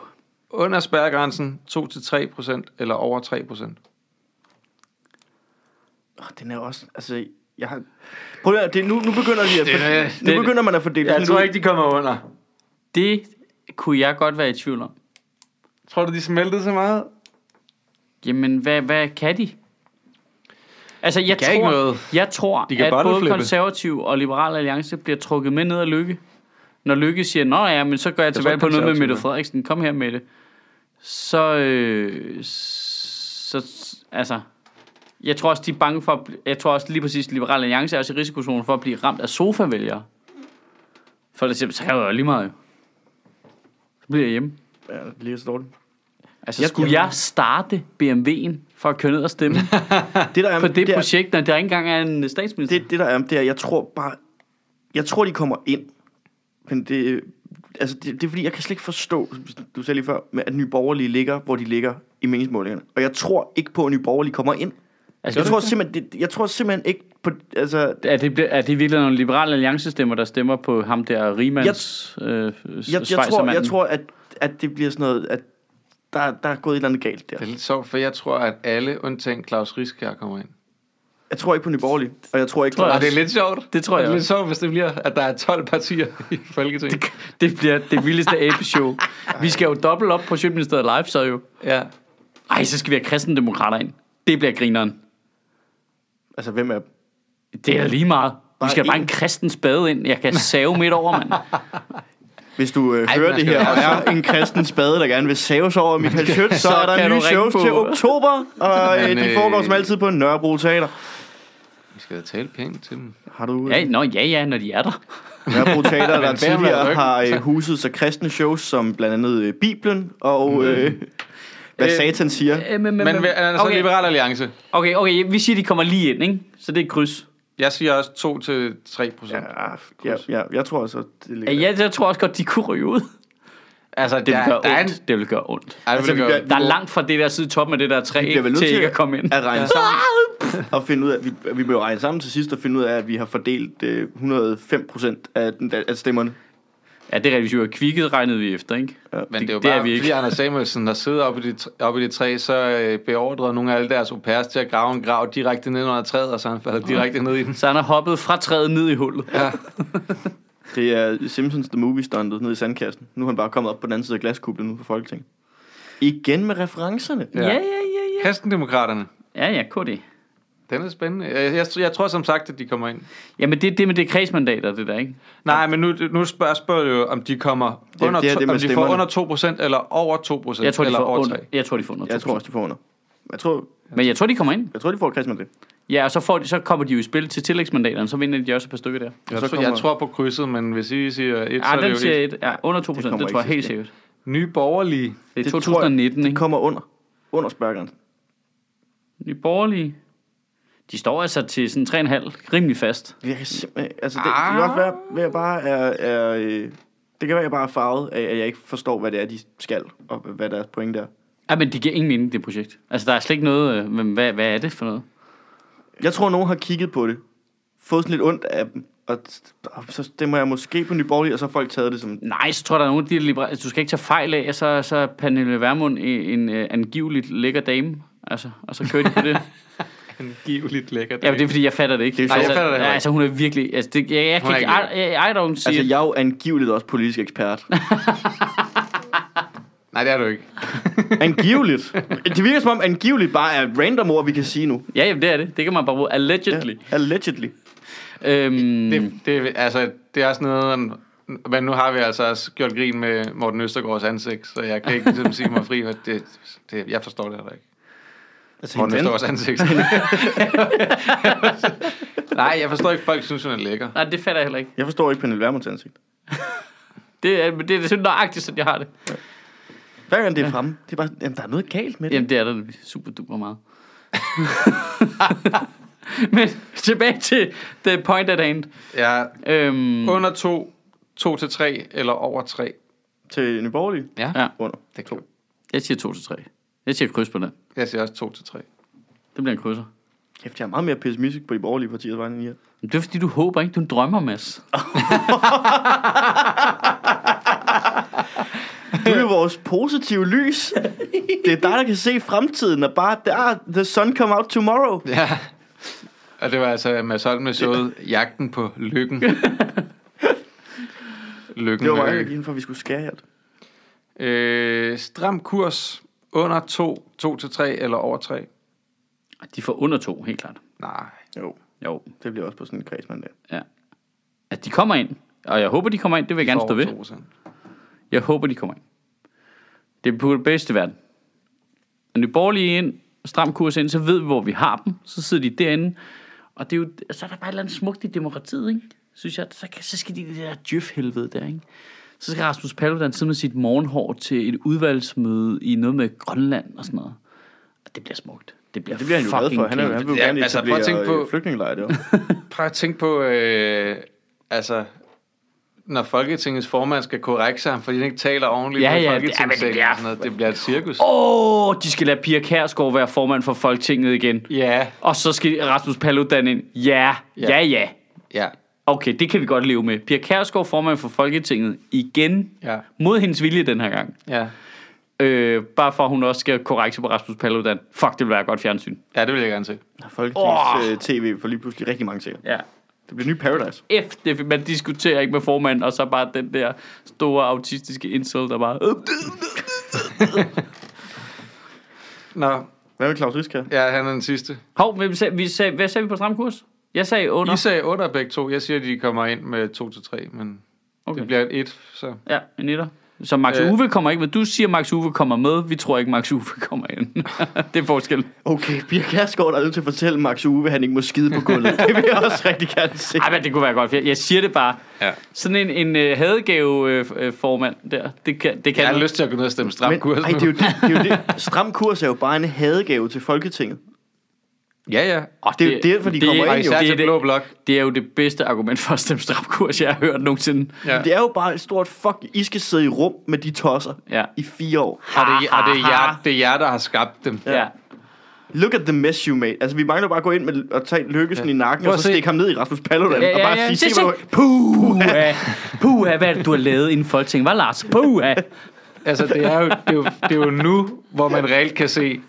Under spærregrænsen 2-3% eller over 3%.
Åh, den er også... Altså, jeg har... Prøv at høre, det, nu, nu begynder de at...
Det-
nu
det-
begynder man at fordele. sådan ud.
Ligesom de kommer under.
Det kunne jeg godt være i tvivl om.
Tror du, de smeltede så meget?
Jamen, hvad, hvad kan de? Altså, jeg
kan
tror,
ikke noget.
Jeg tror,
De kan
at både
bottleflippe.
konservativ og liberal alliance bliver trukket med ned af lykke. Når lykke siger, nå ja, men så går jeg tilbage
tror,
på noget med
Konservative
Mette
er.
Frederiksen. Kom her med det. Så, øh, så, altså, jeg tror også, de er bange for, at bl- jeg tror også lige præcis, Liberal Alliance er også i risikozonen for at blive ramt af sofavælgere. For der siger, så kan jeg jo lige meget jo. Så bliver jeg hjemme.
Ja, det ligger så dårligt.
Altså,
Jeg-
skulle
jeg-
jeg starte BMW'en for at køre ned og stemme
Det, der er,
på det,
det, er,
projekt, når der ikke engang er en statsminister?
det, det der er, det er, jeg tror bare... Jeg tror, de kommer ind. Men det... Altså, det, det er fordi, jeg kan slet ikke forstå, som du sagde lige før, med, at Nye Borgerlige ligger, hvor de ligger i meningsmålingerne. Og jeg tror ikke på, at Nye Borgerlige kommer ind.
altså,
Jeg
det-
tror simpelthen, det, jeg tror simpelthen ikke på... Altså,
Er det, ble- er det virkelig nogle liberale alliancestemmer, der stemmer på ham der Riemanns jeg, øh,
jeg, jeg, tror, jeg tror, at, at det bliver sådan noget, at der, der er gået et eller andet galt der.
Det er lidt sjovt, for jeg tror, at alle undtagen Claus Riskær kommer ind.
Jeg tror ikke på Nye Borgerlige, og jeg tror ikke...
Tror jeg
Og
også.
på,
det er lidt sjovt.
Det tror
Og
jeg
Det er lidt
også.
sjovt, hvis det bliver, at der er 12 partier i Folketinget.
Det bliver det vildeste abeshow. Vi skal jo dobbelt op på Sjøtministeriet Live, så jo.
Ja.
Ej, så skal vi have kristendemokrater ind. Det bliver grineren.
altså, hvem er...
Det er da lige meget. Vi
Bare
skal bare
én.
en kristen spade ind. Jeg kan save midt over, mand.
Hvis du øh,
Ej,
hører
man
det
skal
her,
være-
og er en kristen spade, der gerne vil saves over Michael Schødt, så,
Så
er der
kan du
nye
ringe
shows
på-
til oktober, og øh,
Men,
de
øh,
foregår som altid på Nørrebro Teater.
Vi skal da tale pænt til dem.
Har du øh,
Ja, nå, ja, ja, når de er der.
Nørrebro Teater, der
man
tidligere
ryggen,
har øh, huset så kristne shows som blandt andet øh, Bibelen og øh, hvad
Mm. Øh,
Satan siger.
Øh, men, men,
Men
men,
altså okay.
okay,
Liberal Alliance.
okay, okay, vi siger, de kommer lige ind, ikke? Så det er et kryds.
Jeg siger også 2 til 3 procent. Ja.
Ja, ja, ja, jeg tror altså, det ligger...
Ja, jeg tror også godt, de kunne ryge ud.
Altså, det
Det vil
der, der
gøre
er en...
ondt. Det vil gøre ondt.
Ej,
Altså,
altså,
vi
gør...
bliver-
Der er langt fra det der side toppen af det der træ,
bliver vel
ikke,
nødt
til
til
ikke at komme ind.
at regne sammen, og finde ud af, vi, vi blev regnet sammen til sidst og finde ud af, at vi har fordelt øh, 105 procent af, den, af stemmerne.
Ja, det er rigtigt. Hvis vi var kvikket, regnede vi efter, ikke?
Men det,
Det-
er jo
det er
bare,
vi ikke.
fordi Anders Samuelsen, der sidder oppe i de, tr- oppe i de træ, så øh, beordrede nogle af alle deres au pairs til at grave en grav direkte ned under træet, og så han falder direkte ned i den.
Så han har hoppet fra træet ned i hullet.
Ja.
Det er Simpsons The Movie stuntet nede i sandkassen. Nu er han bare kommet op på den anden side af glaskuglen ude for Folketinget. Igen med referencerne.
Ja, ja, ja, ja.
Kristendemokraterne.
Ja, ja, KD.
Den er spændende. Jeg, jeg, jeg tror som sagt, at de kommer ind.
Jamen, det er det med det kredsmandater, det der, ikke?
Nej, men nu, nu spørger, spørger du jo, om de kommer
er-
under,
det er
to-
det med
om de
stemmerne.
får under 2% eller over 2%.
Jeg tror, de
eller
får
over
under,
3.
jeg tror, de får under
Jeg tror
2.000.
også, de får under. Jeg tror,
Men jeg tror, de kommer ind.
jeg tror de får Christian det.
Ja, og så, får de, så kommer de jo i spil til tillægsmandaterne, så vinder de også et par stykker der.
Jeg,
så
tror,
kommer-
jeg tror på krydset, men hvis I siger 1, så
Ja,
er
den
det jo
siger
1.
et, ja, under 2
Det
procent,
kommer
det tror jeg
ikke
helt
til
sikkert.
Nye borgerlige.
Det er
Det tror jeg-
2019,
De
ikke?
kommer under. Under spærgrænsen.
Nye borgerlige. De står altså til sådan 3,5, rimelig fast.
Jeg kan simpelthen... Altså, det, det kan godt være, at jeg bare er... er øh, det kan være, at jeg bare er farvet af, at jeg ikke forstår, hvad det er, de skal, og hvad deres pointe er.
Ja, men det giver ingen mening, det projekt. Altså, der er slet ikke noget, øh, men hvad, hvad er det for noget?
Jeg tror, nogen har kigget på det, fået sådan lidt ondt af dem, og, og så stemmer jeg måske på Nye Borgerlige, og så har folk taget det som...
Nej, så tror jeg, der er nogle af de liberale... Du skal ikke tage fejl af, at så, så er Pernille Vermund en, en uh, angiveligt lækker dame. Altså, og så kører de på det.
Angiveligt lækkert.
ja, men det er fordi, jeg fatter det ikke.
Det er jo
altså,
sjovt. Jeg fatter det heller
ja,
ikke.
altså, hun er virkelig... Altså, det, jeg, jeg
Hun
kan
er
ikke... I, I, I
ikke
don't see
Altså,
altså,
jeg er jo angiveligt også politisk ekspert.
Nej, det er du ikke.
Angiveligt. Det virker som om angiveligt bare er et random ord, vi kan sige nu.
Ja, jamen, det er det. Det kan man bare bruge. Allegedly.
Allegedly.
Ja. Øhm, det...
Det, det, altså, det er også noget... Men nu har vi altså også gjort grin med Morten Østergaards ansigt, så jeg kan ikke ligesom sige mig fri, for det, det, jeg forstår det heller ikke.
Altså,
Morten
en ven.
Østergaards ansigt. Nej, jeg forstår ikke, folk synes, hun er lækker.
Nej, det fatter jeg heller ikke.
jeg forstår ikke Pernille Vermunds ansigt.
Det er, det er sådan nøjagtigt, sådan jeg har det.
Hver gang det er fremme, det er bare, jamen, der er noget galt med det.
Jamen, det er der nemlig super duper meget. Men tilbage til the point at hand.
Jeg er
Øhm,
under to, to til tre, eller over tre.
Til Nye Borgerlige.
Ja,
Ja.
Under.
det kan
jeg siger 2 til 3. Jeg siger kryds på den.
Jeg siger også to til tre.
Det bliver en krydser.
Kæft, jeg er meget mere pessimistisk på de borgerlige partiers vegne end I er.
Men det er fordi, du håber, ikke? Du drømmer, Mads.
Du er jo vores positive lys. Det er dig, der kan se fremtiden, og bare, der, the sun come out tomorrow.
Ja. Og det var altså Mads Holm med showet Jagten på lykken. lykken
Det var
med
meget
ø.
inden for, at vi skulle skære her.
øh, Stram kurs under 2, 2 til 3 eller over 3.
De får under to, helt klart.
Nej.
Jo,
Jo.
det bliver også på sådan en kredsmandat.
At de kommer ind. Og jeg håber, de kommer ind. Det vil jeg gerne stå
over
ved.
2%.
Jeg håber, de kommer ind. Det er på det bedste i verden. Når Nye Borgerlige ind, stram kurs ind, så ved vi, hvor vi har dem. Så sidder de derinde. Og det er jo, så er der bare et eller andet smukt i demokratiet, ikke? Synes jeg, så, kan- så skal de i det der djøf-helvede der, ikke? Så skal Rasmus Paludan sidde med sit morgenhår til et udvalgsmøde i noget med Grønland og sådan noget. Og det bliver smukt. Det bliver,
Det bliver han jo glad
fucking
for. Han, er,
kæmpe.
han vil jo
Ja,
gerne
altså, prøv
etablere
at tænke på-
på... flygtningelejre derovre.
Prøv at tænke på, øh, altså, når Folketingets formand skal korrekte sig, fordi han ikke taler ordentligt
Ja,
med
ja, det- ja, men det
Folketingssalen. Det,
bliver-
ja, det, det bliver et cirkus.
Åh, oh, de skal lade Pia Kærsgaard være formand for Folketinget igen.
Ja,
Og så skal Rasmus Paludan ind. Ja,
Ja.
ja, ja.
ja,
Okay, det kan vi godt leve med. Pia Kærsgaard, formand for Folketinget, igen.
ja,
Mod hendes vilje den her gang.
ja.
Øh, bare for at hun også skal korrekte på Rasmus Paludan. Fuck, det vil være godt fjernsyn.
Ja, det vil jeg gerne se.
Når Folketingets øh, tv får lige pludselig rigtig mange serier.
Ja.
Det bliver ny Paradise.
F, det, man diskuterer ikke med formanden, og så bare den der store autistiske insult, der bare... "Øh,
Nå,
Hvad med Claus Riskær?
ja, han er den sidste.
Hov, hvem sagde, vi sagde, hvad sagde vi på stram kurs? Jeg sagde under.
I sagde 8 og begge to. Jeg siger, at de kommer ind med 2 til 3, men okay.
Okay.
det bliver et 1, så...
Ja, en etter. Så Max
Øh.
Uwe kommer ikke med. Du siger, Max Uwe kommer med. Vi tror ikke, Max Uwe kommer ind. det er forskel.
Okay, Pia Kærsgaard er nødt til at fortælle Max Uwe, at han ikke må skide på gulvet. det vil jeg også rigtig gerne se.
Ej, men det kunne være godt. Jeg, jeg siger det bare.
Ja.
Sådan en, en uh, hadegave-formand øh, der, det kan, det kan
Jeg har
noget.
lyst til at gå ned og stemme stram
Men,
kurs
ej, det er, jo det, det er jo det. Stram kurs er jo bare en hadegave til Folketinget.
Ja, ja.
Åh,
det er jo derfor, de
det,
kommer
er-
Og
ind, jo.
især
Det, er
til Blå
det,
Blok.
det er jo det bedste argument for at stemme stramkurs, jeg har hørt nogensinde.
Ja.
Det er jo bare et stort fuck. I skal sidde i rum med de tosser
Ja.
i fire år.
Og det, og det, er jer, det er jer, der har skabt dem.
Ja. ja.
Look at the mess you made. Altså, vi mangler bare at gå ind med, og tage lykkesen ja. i nakken,
Prøv
og
at
så
se.
stikke ham ned i Rasmus Paludan,
Ja,
og
ja,
bare
ja.
sige,
Se,
se, hvor...
se. Puha. Puha, hvad er det, du har lavet inden Folketinget? Hvad, Lars? Puha.
Altså, det er, jo, det, er jo, det er jo nu, hvor man reelt kan se,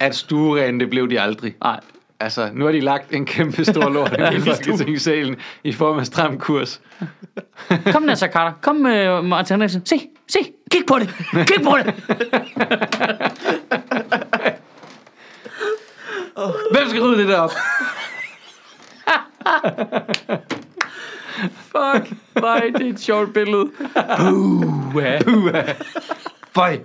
at stuerene, det blev de aldrig.
Nej.
Altså, nu har de lagt en kæmpe stor lort i Folketingssalen i form af stram kurs.
Kom, Nasser Carter. Kom, uh, Martin Henriksen. Se, se. Kig på det. Kig på det.
Hvem skal rydde det der op?
Fuck. Nej, det er et sjovt billede. Puha.
Føj!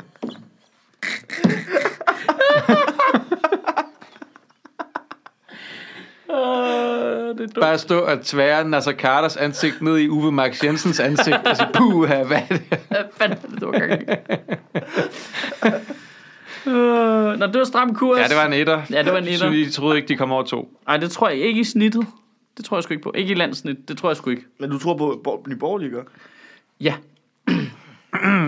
Uh, det er dumt.
Bare stå og tvære Nasser Carters ansigt ned i Uwe Max Jensens ansigt og sige, puha, hvad er det?
Hvad fanden er det, du har gang i? Øh, Nå, det var stram kurs.
Ja, det var en etter.
Ja, det var en etter.
Så de troede ikke, de kom over to.
Ej, det tror jeg ikke i snittet. Det tror jeg sgu ikke på. Ikke i landsnit. Det tror jeg sgu ikke.
Men du tror på, på Nye Borgerlige gør?
Ja.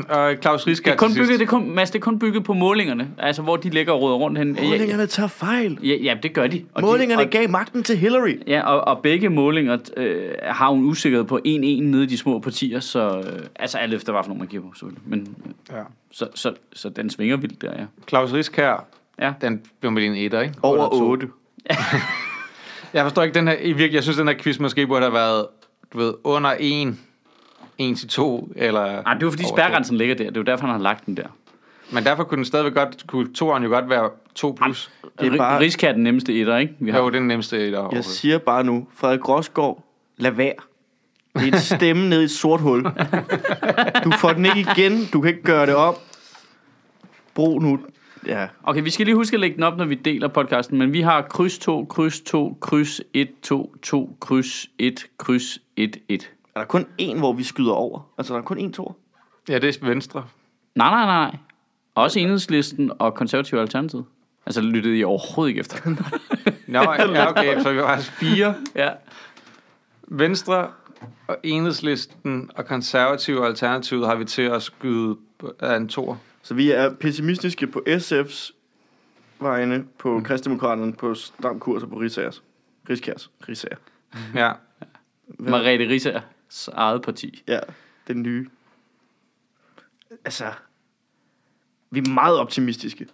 Og Claus Riske
Det er kun bygget, det er kun, Mads, det er kun bygget på målingerne. Altså, hvor de ligger og råder rundt hen.
Målingerne tager fejl.
Ja, ja, det gør de. Og
Målingerne
de, og,
gav magten til Hillary.
Ja, og, og begge målinger øh, har jo en usikkerhed på 1-1 nede i de små partier, så... Øh, altså, alt efter, hvad for nogen man giver på, selvfølgelig. Men, øh,
Ja.
så, så, så den svinger vildt der, ja.
Claus Riskær,
Ja.
den blev med en etter, ikke?
Over
Under to.
8.
Jeg forstår ikke den her, i virkelig, jeg synes, den her quiz måske burde have været, du ved, under en. en til to, eller...
Nej, Ah, det er jo fordi
over to.
spærgrænsen ligger der. Det er jo derfor, han har lagt den der.
Men derfor kunne den stadigvæk godt, kunne toeren jo godt være to
Ah,
plus.
Det er bare-
Rigskat er den nemmeste etter, ikke? Vi har...
Jo, det er den nemmeste der
Jeg siger bare nu, Frederik Rosgaard, lad være. Det er et stemme ned i et sort hul. Du får den ikke igen, du kan ikke gøre det om. Brug nu. Ja.
Okay, vi skal lige huske at lægge den op, når vi deler podcasten, men vi har kryds 2, kryds 2, kryds 1, 2, 2, kryds 1, kryds 1, 1.
Er der kun en, hvor vi skyder over? Altså, er der kun en to?
Ja, det er venstre.
Nej, nej, nej, nej. Også enhedslisten og konservative alternativ. Altså, det lyttede I overhovedet ikke efter.
Nå, ja, okay, så vi var altså fire.
ja.
Venstre og Enhedslisten og Konservative og Alternativet har vi til at skyde af en tor.
Så vi er pessimistiske på SF's vegne, på Kristdemokraterne, på Stram Kurs og på Rigsagers. Rigskærs. Rigsager.
Ja.
Margrethe Risers eget parti.
Ja, den nye. Altså, vi er meget optimistiske.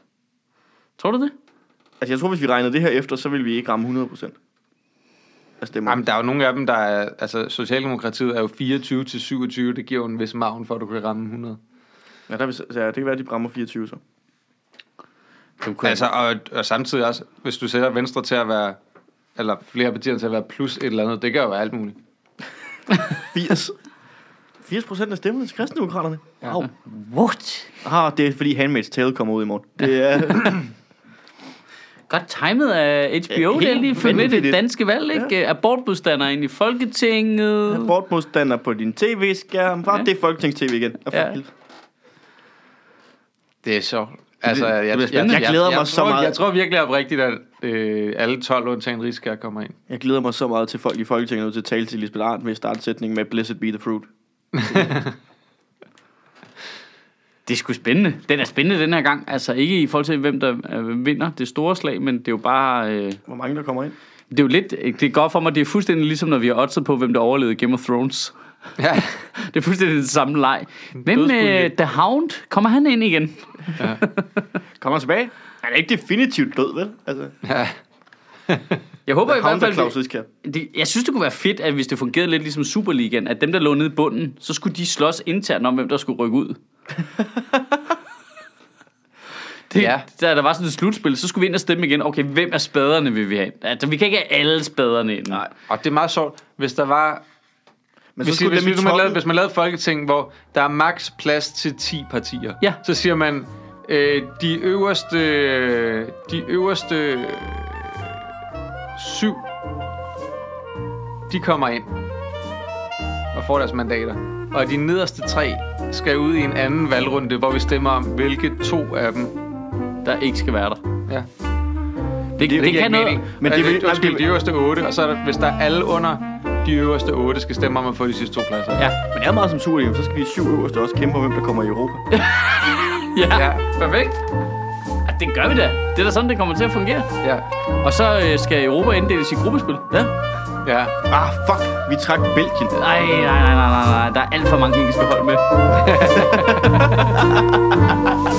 Tror du det?
Altså, jeg tror, hvis vi regnede det her efter, så ville vi ikke ramme 100%. Altså, det må...
Jamen, der er jo nogle af dem, der er... Altså, Socialdemokratiet er jo 24 til 27. Det giver jo en vis maven for, at du kan ramme 100.
ja, der, vil så- ja, det kan være, at de rammer 24, så.
Du kunne
Altså, og, og samtidig også, hvis du sætter Venstre til at være... Eller flere partier til at være plus et eller andet. Det gør jo alt muligt.
80. 80% af stemmerne til kristendemokraterne.
Ja.
Wow.
What?
Ah, det er fordi Handmaid's Tale kommer ud i morgen. Det er...
Godt timet af HBO,
Ja,
det er
helt
lige fundet det
vanvittigt.
danske valg, ikke? Ja. Abortmodstandere ind i Folketinget.
Abortmodstander på din tv-skærm. Bare
Ja.
ja. det er Folketings-tv igen. Og for
Ja.
helvede.
Det er sjovt. Altså,
bliver-
jeg,
det bliver
jeg,
spændende.
Jeg glæder mig
tror,
så meget.
Jeg tror virkelig oprigtigt, at øh, alle 12 undtagen Rigskær kommer ind.
Jeg glæder mig så meget til folk i Folketinget nu til at tale til Lisbeth Arndt ved at starte sætningen med Blessed be the fruit.
Det er sgu spændende. Den er spændende den her gang. Altså ikke i forhold til, hvem der øh, vinder det store slag, men det er jo bare... Øh,
Hvor mange der kommer ind?
det er jo lidt... Det er godt for mig, det er fuldstændig ligesom, når vi har oddset på, hvem der overlevede Game of Thrones.
Ja.
Det er fuldstændig den samme leg. Hvem
dødspulje.
øh, The Hound? Kommer han ind igen?
Kommer han tilbage? Han er ikke definitivt død, vel? Altså,
ja.
Jeg håber i
Havn
hvert
der Claus
fald...
Riskær.
Det, det, jeg synes, det kunne være fedt, at hvis det fungerede lidt ligesom Superligaen, at dem, der lå nede i bunden, så skulle de slås internt om, hvem der skulle rykke ud. Det, ja.
Ja.
Da der var sådan et slutspil, så skulle vi ind og stemme igen. Okay, hvem af spaderne vil vi have? Altså, vi kan ikke have alle spaderne ind. Nej.
Og det er meget sjovt, hvis der var...
Men
Hvis, hvis,
Altså, dem i
hvis, man
toppen-
lavede, hvis man lavede Folketing, hvor der er maks plads til 10 partier,
Ja.
så siger man, øh, de øverste... De øverste... øh, Syv... De kommer ind og får deres mandater. Og de nederste tre skal ud i en anden valgrunde, hvor vi stemmer om, hvilke to af dem...
Der ikke skal være der.
Ja.
Det, det, det, det
giver
kan
ikke
noget.
mening. Men det, vil, undskyld, de øverste otte, og så er der, hvis der er alle under de øverste otte, skal stemme om at få de sidste to pladser.
Ja.
Men det er meget som Superligaen, så skal vi syv øverste også kæmpe om, hvem der kommer i Europa.
Ja. ja.
Ja, perfekt.
Det gør vi da. Det er da sådan, det kommer til at fungere.
Ja,
Og så øh, skal Europa inddeles i gruppespil. Ja.
ja.
Ah, fuck! Vi trak Belgien.
Nej, nej, nej, nej, nej, nej. Der er alt for mange engelske hold med.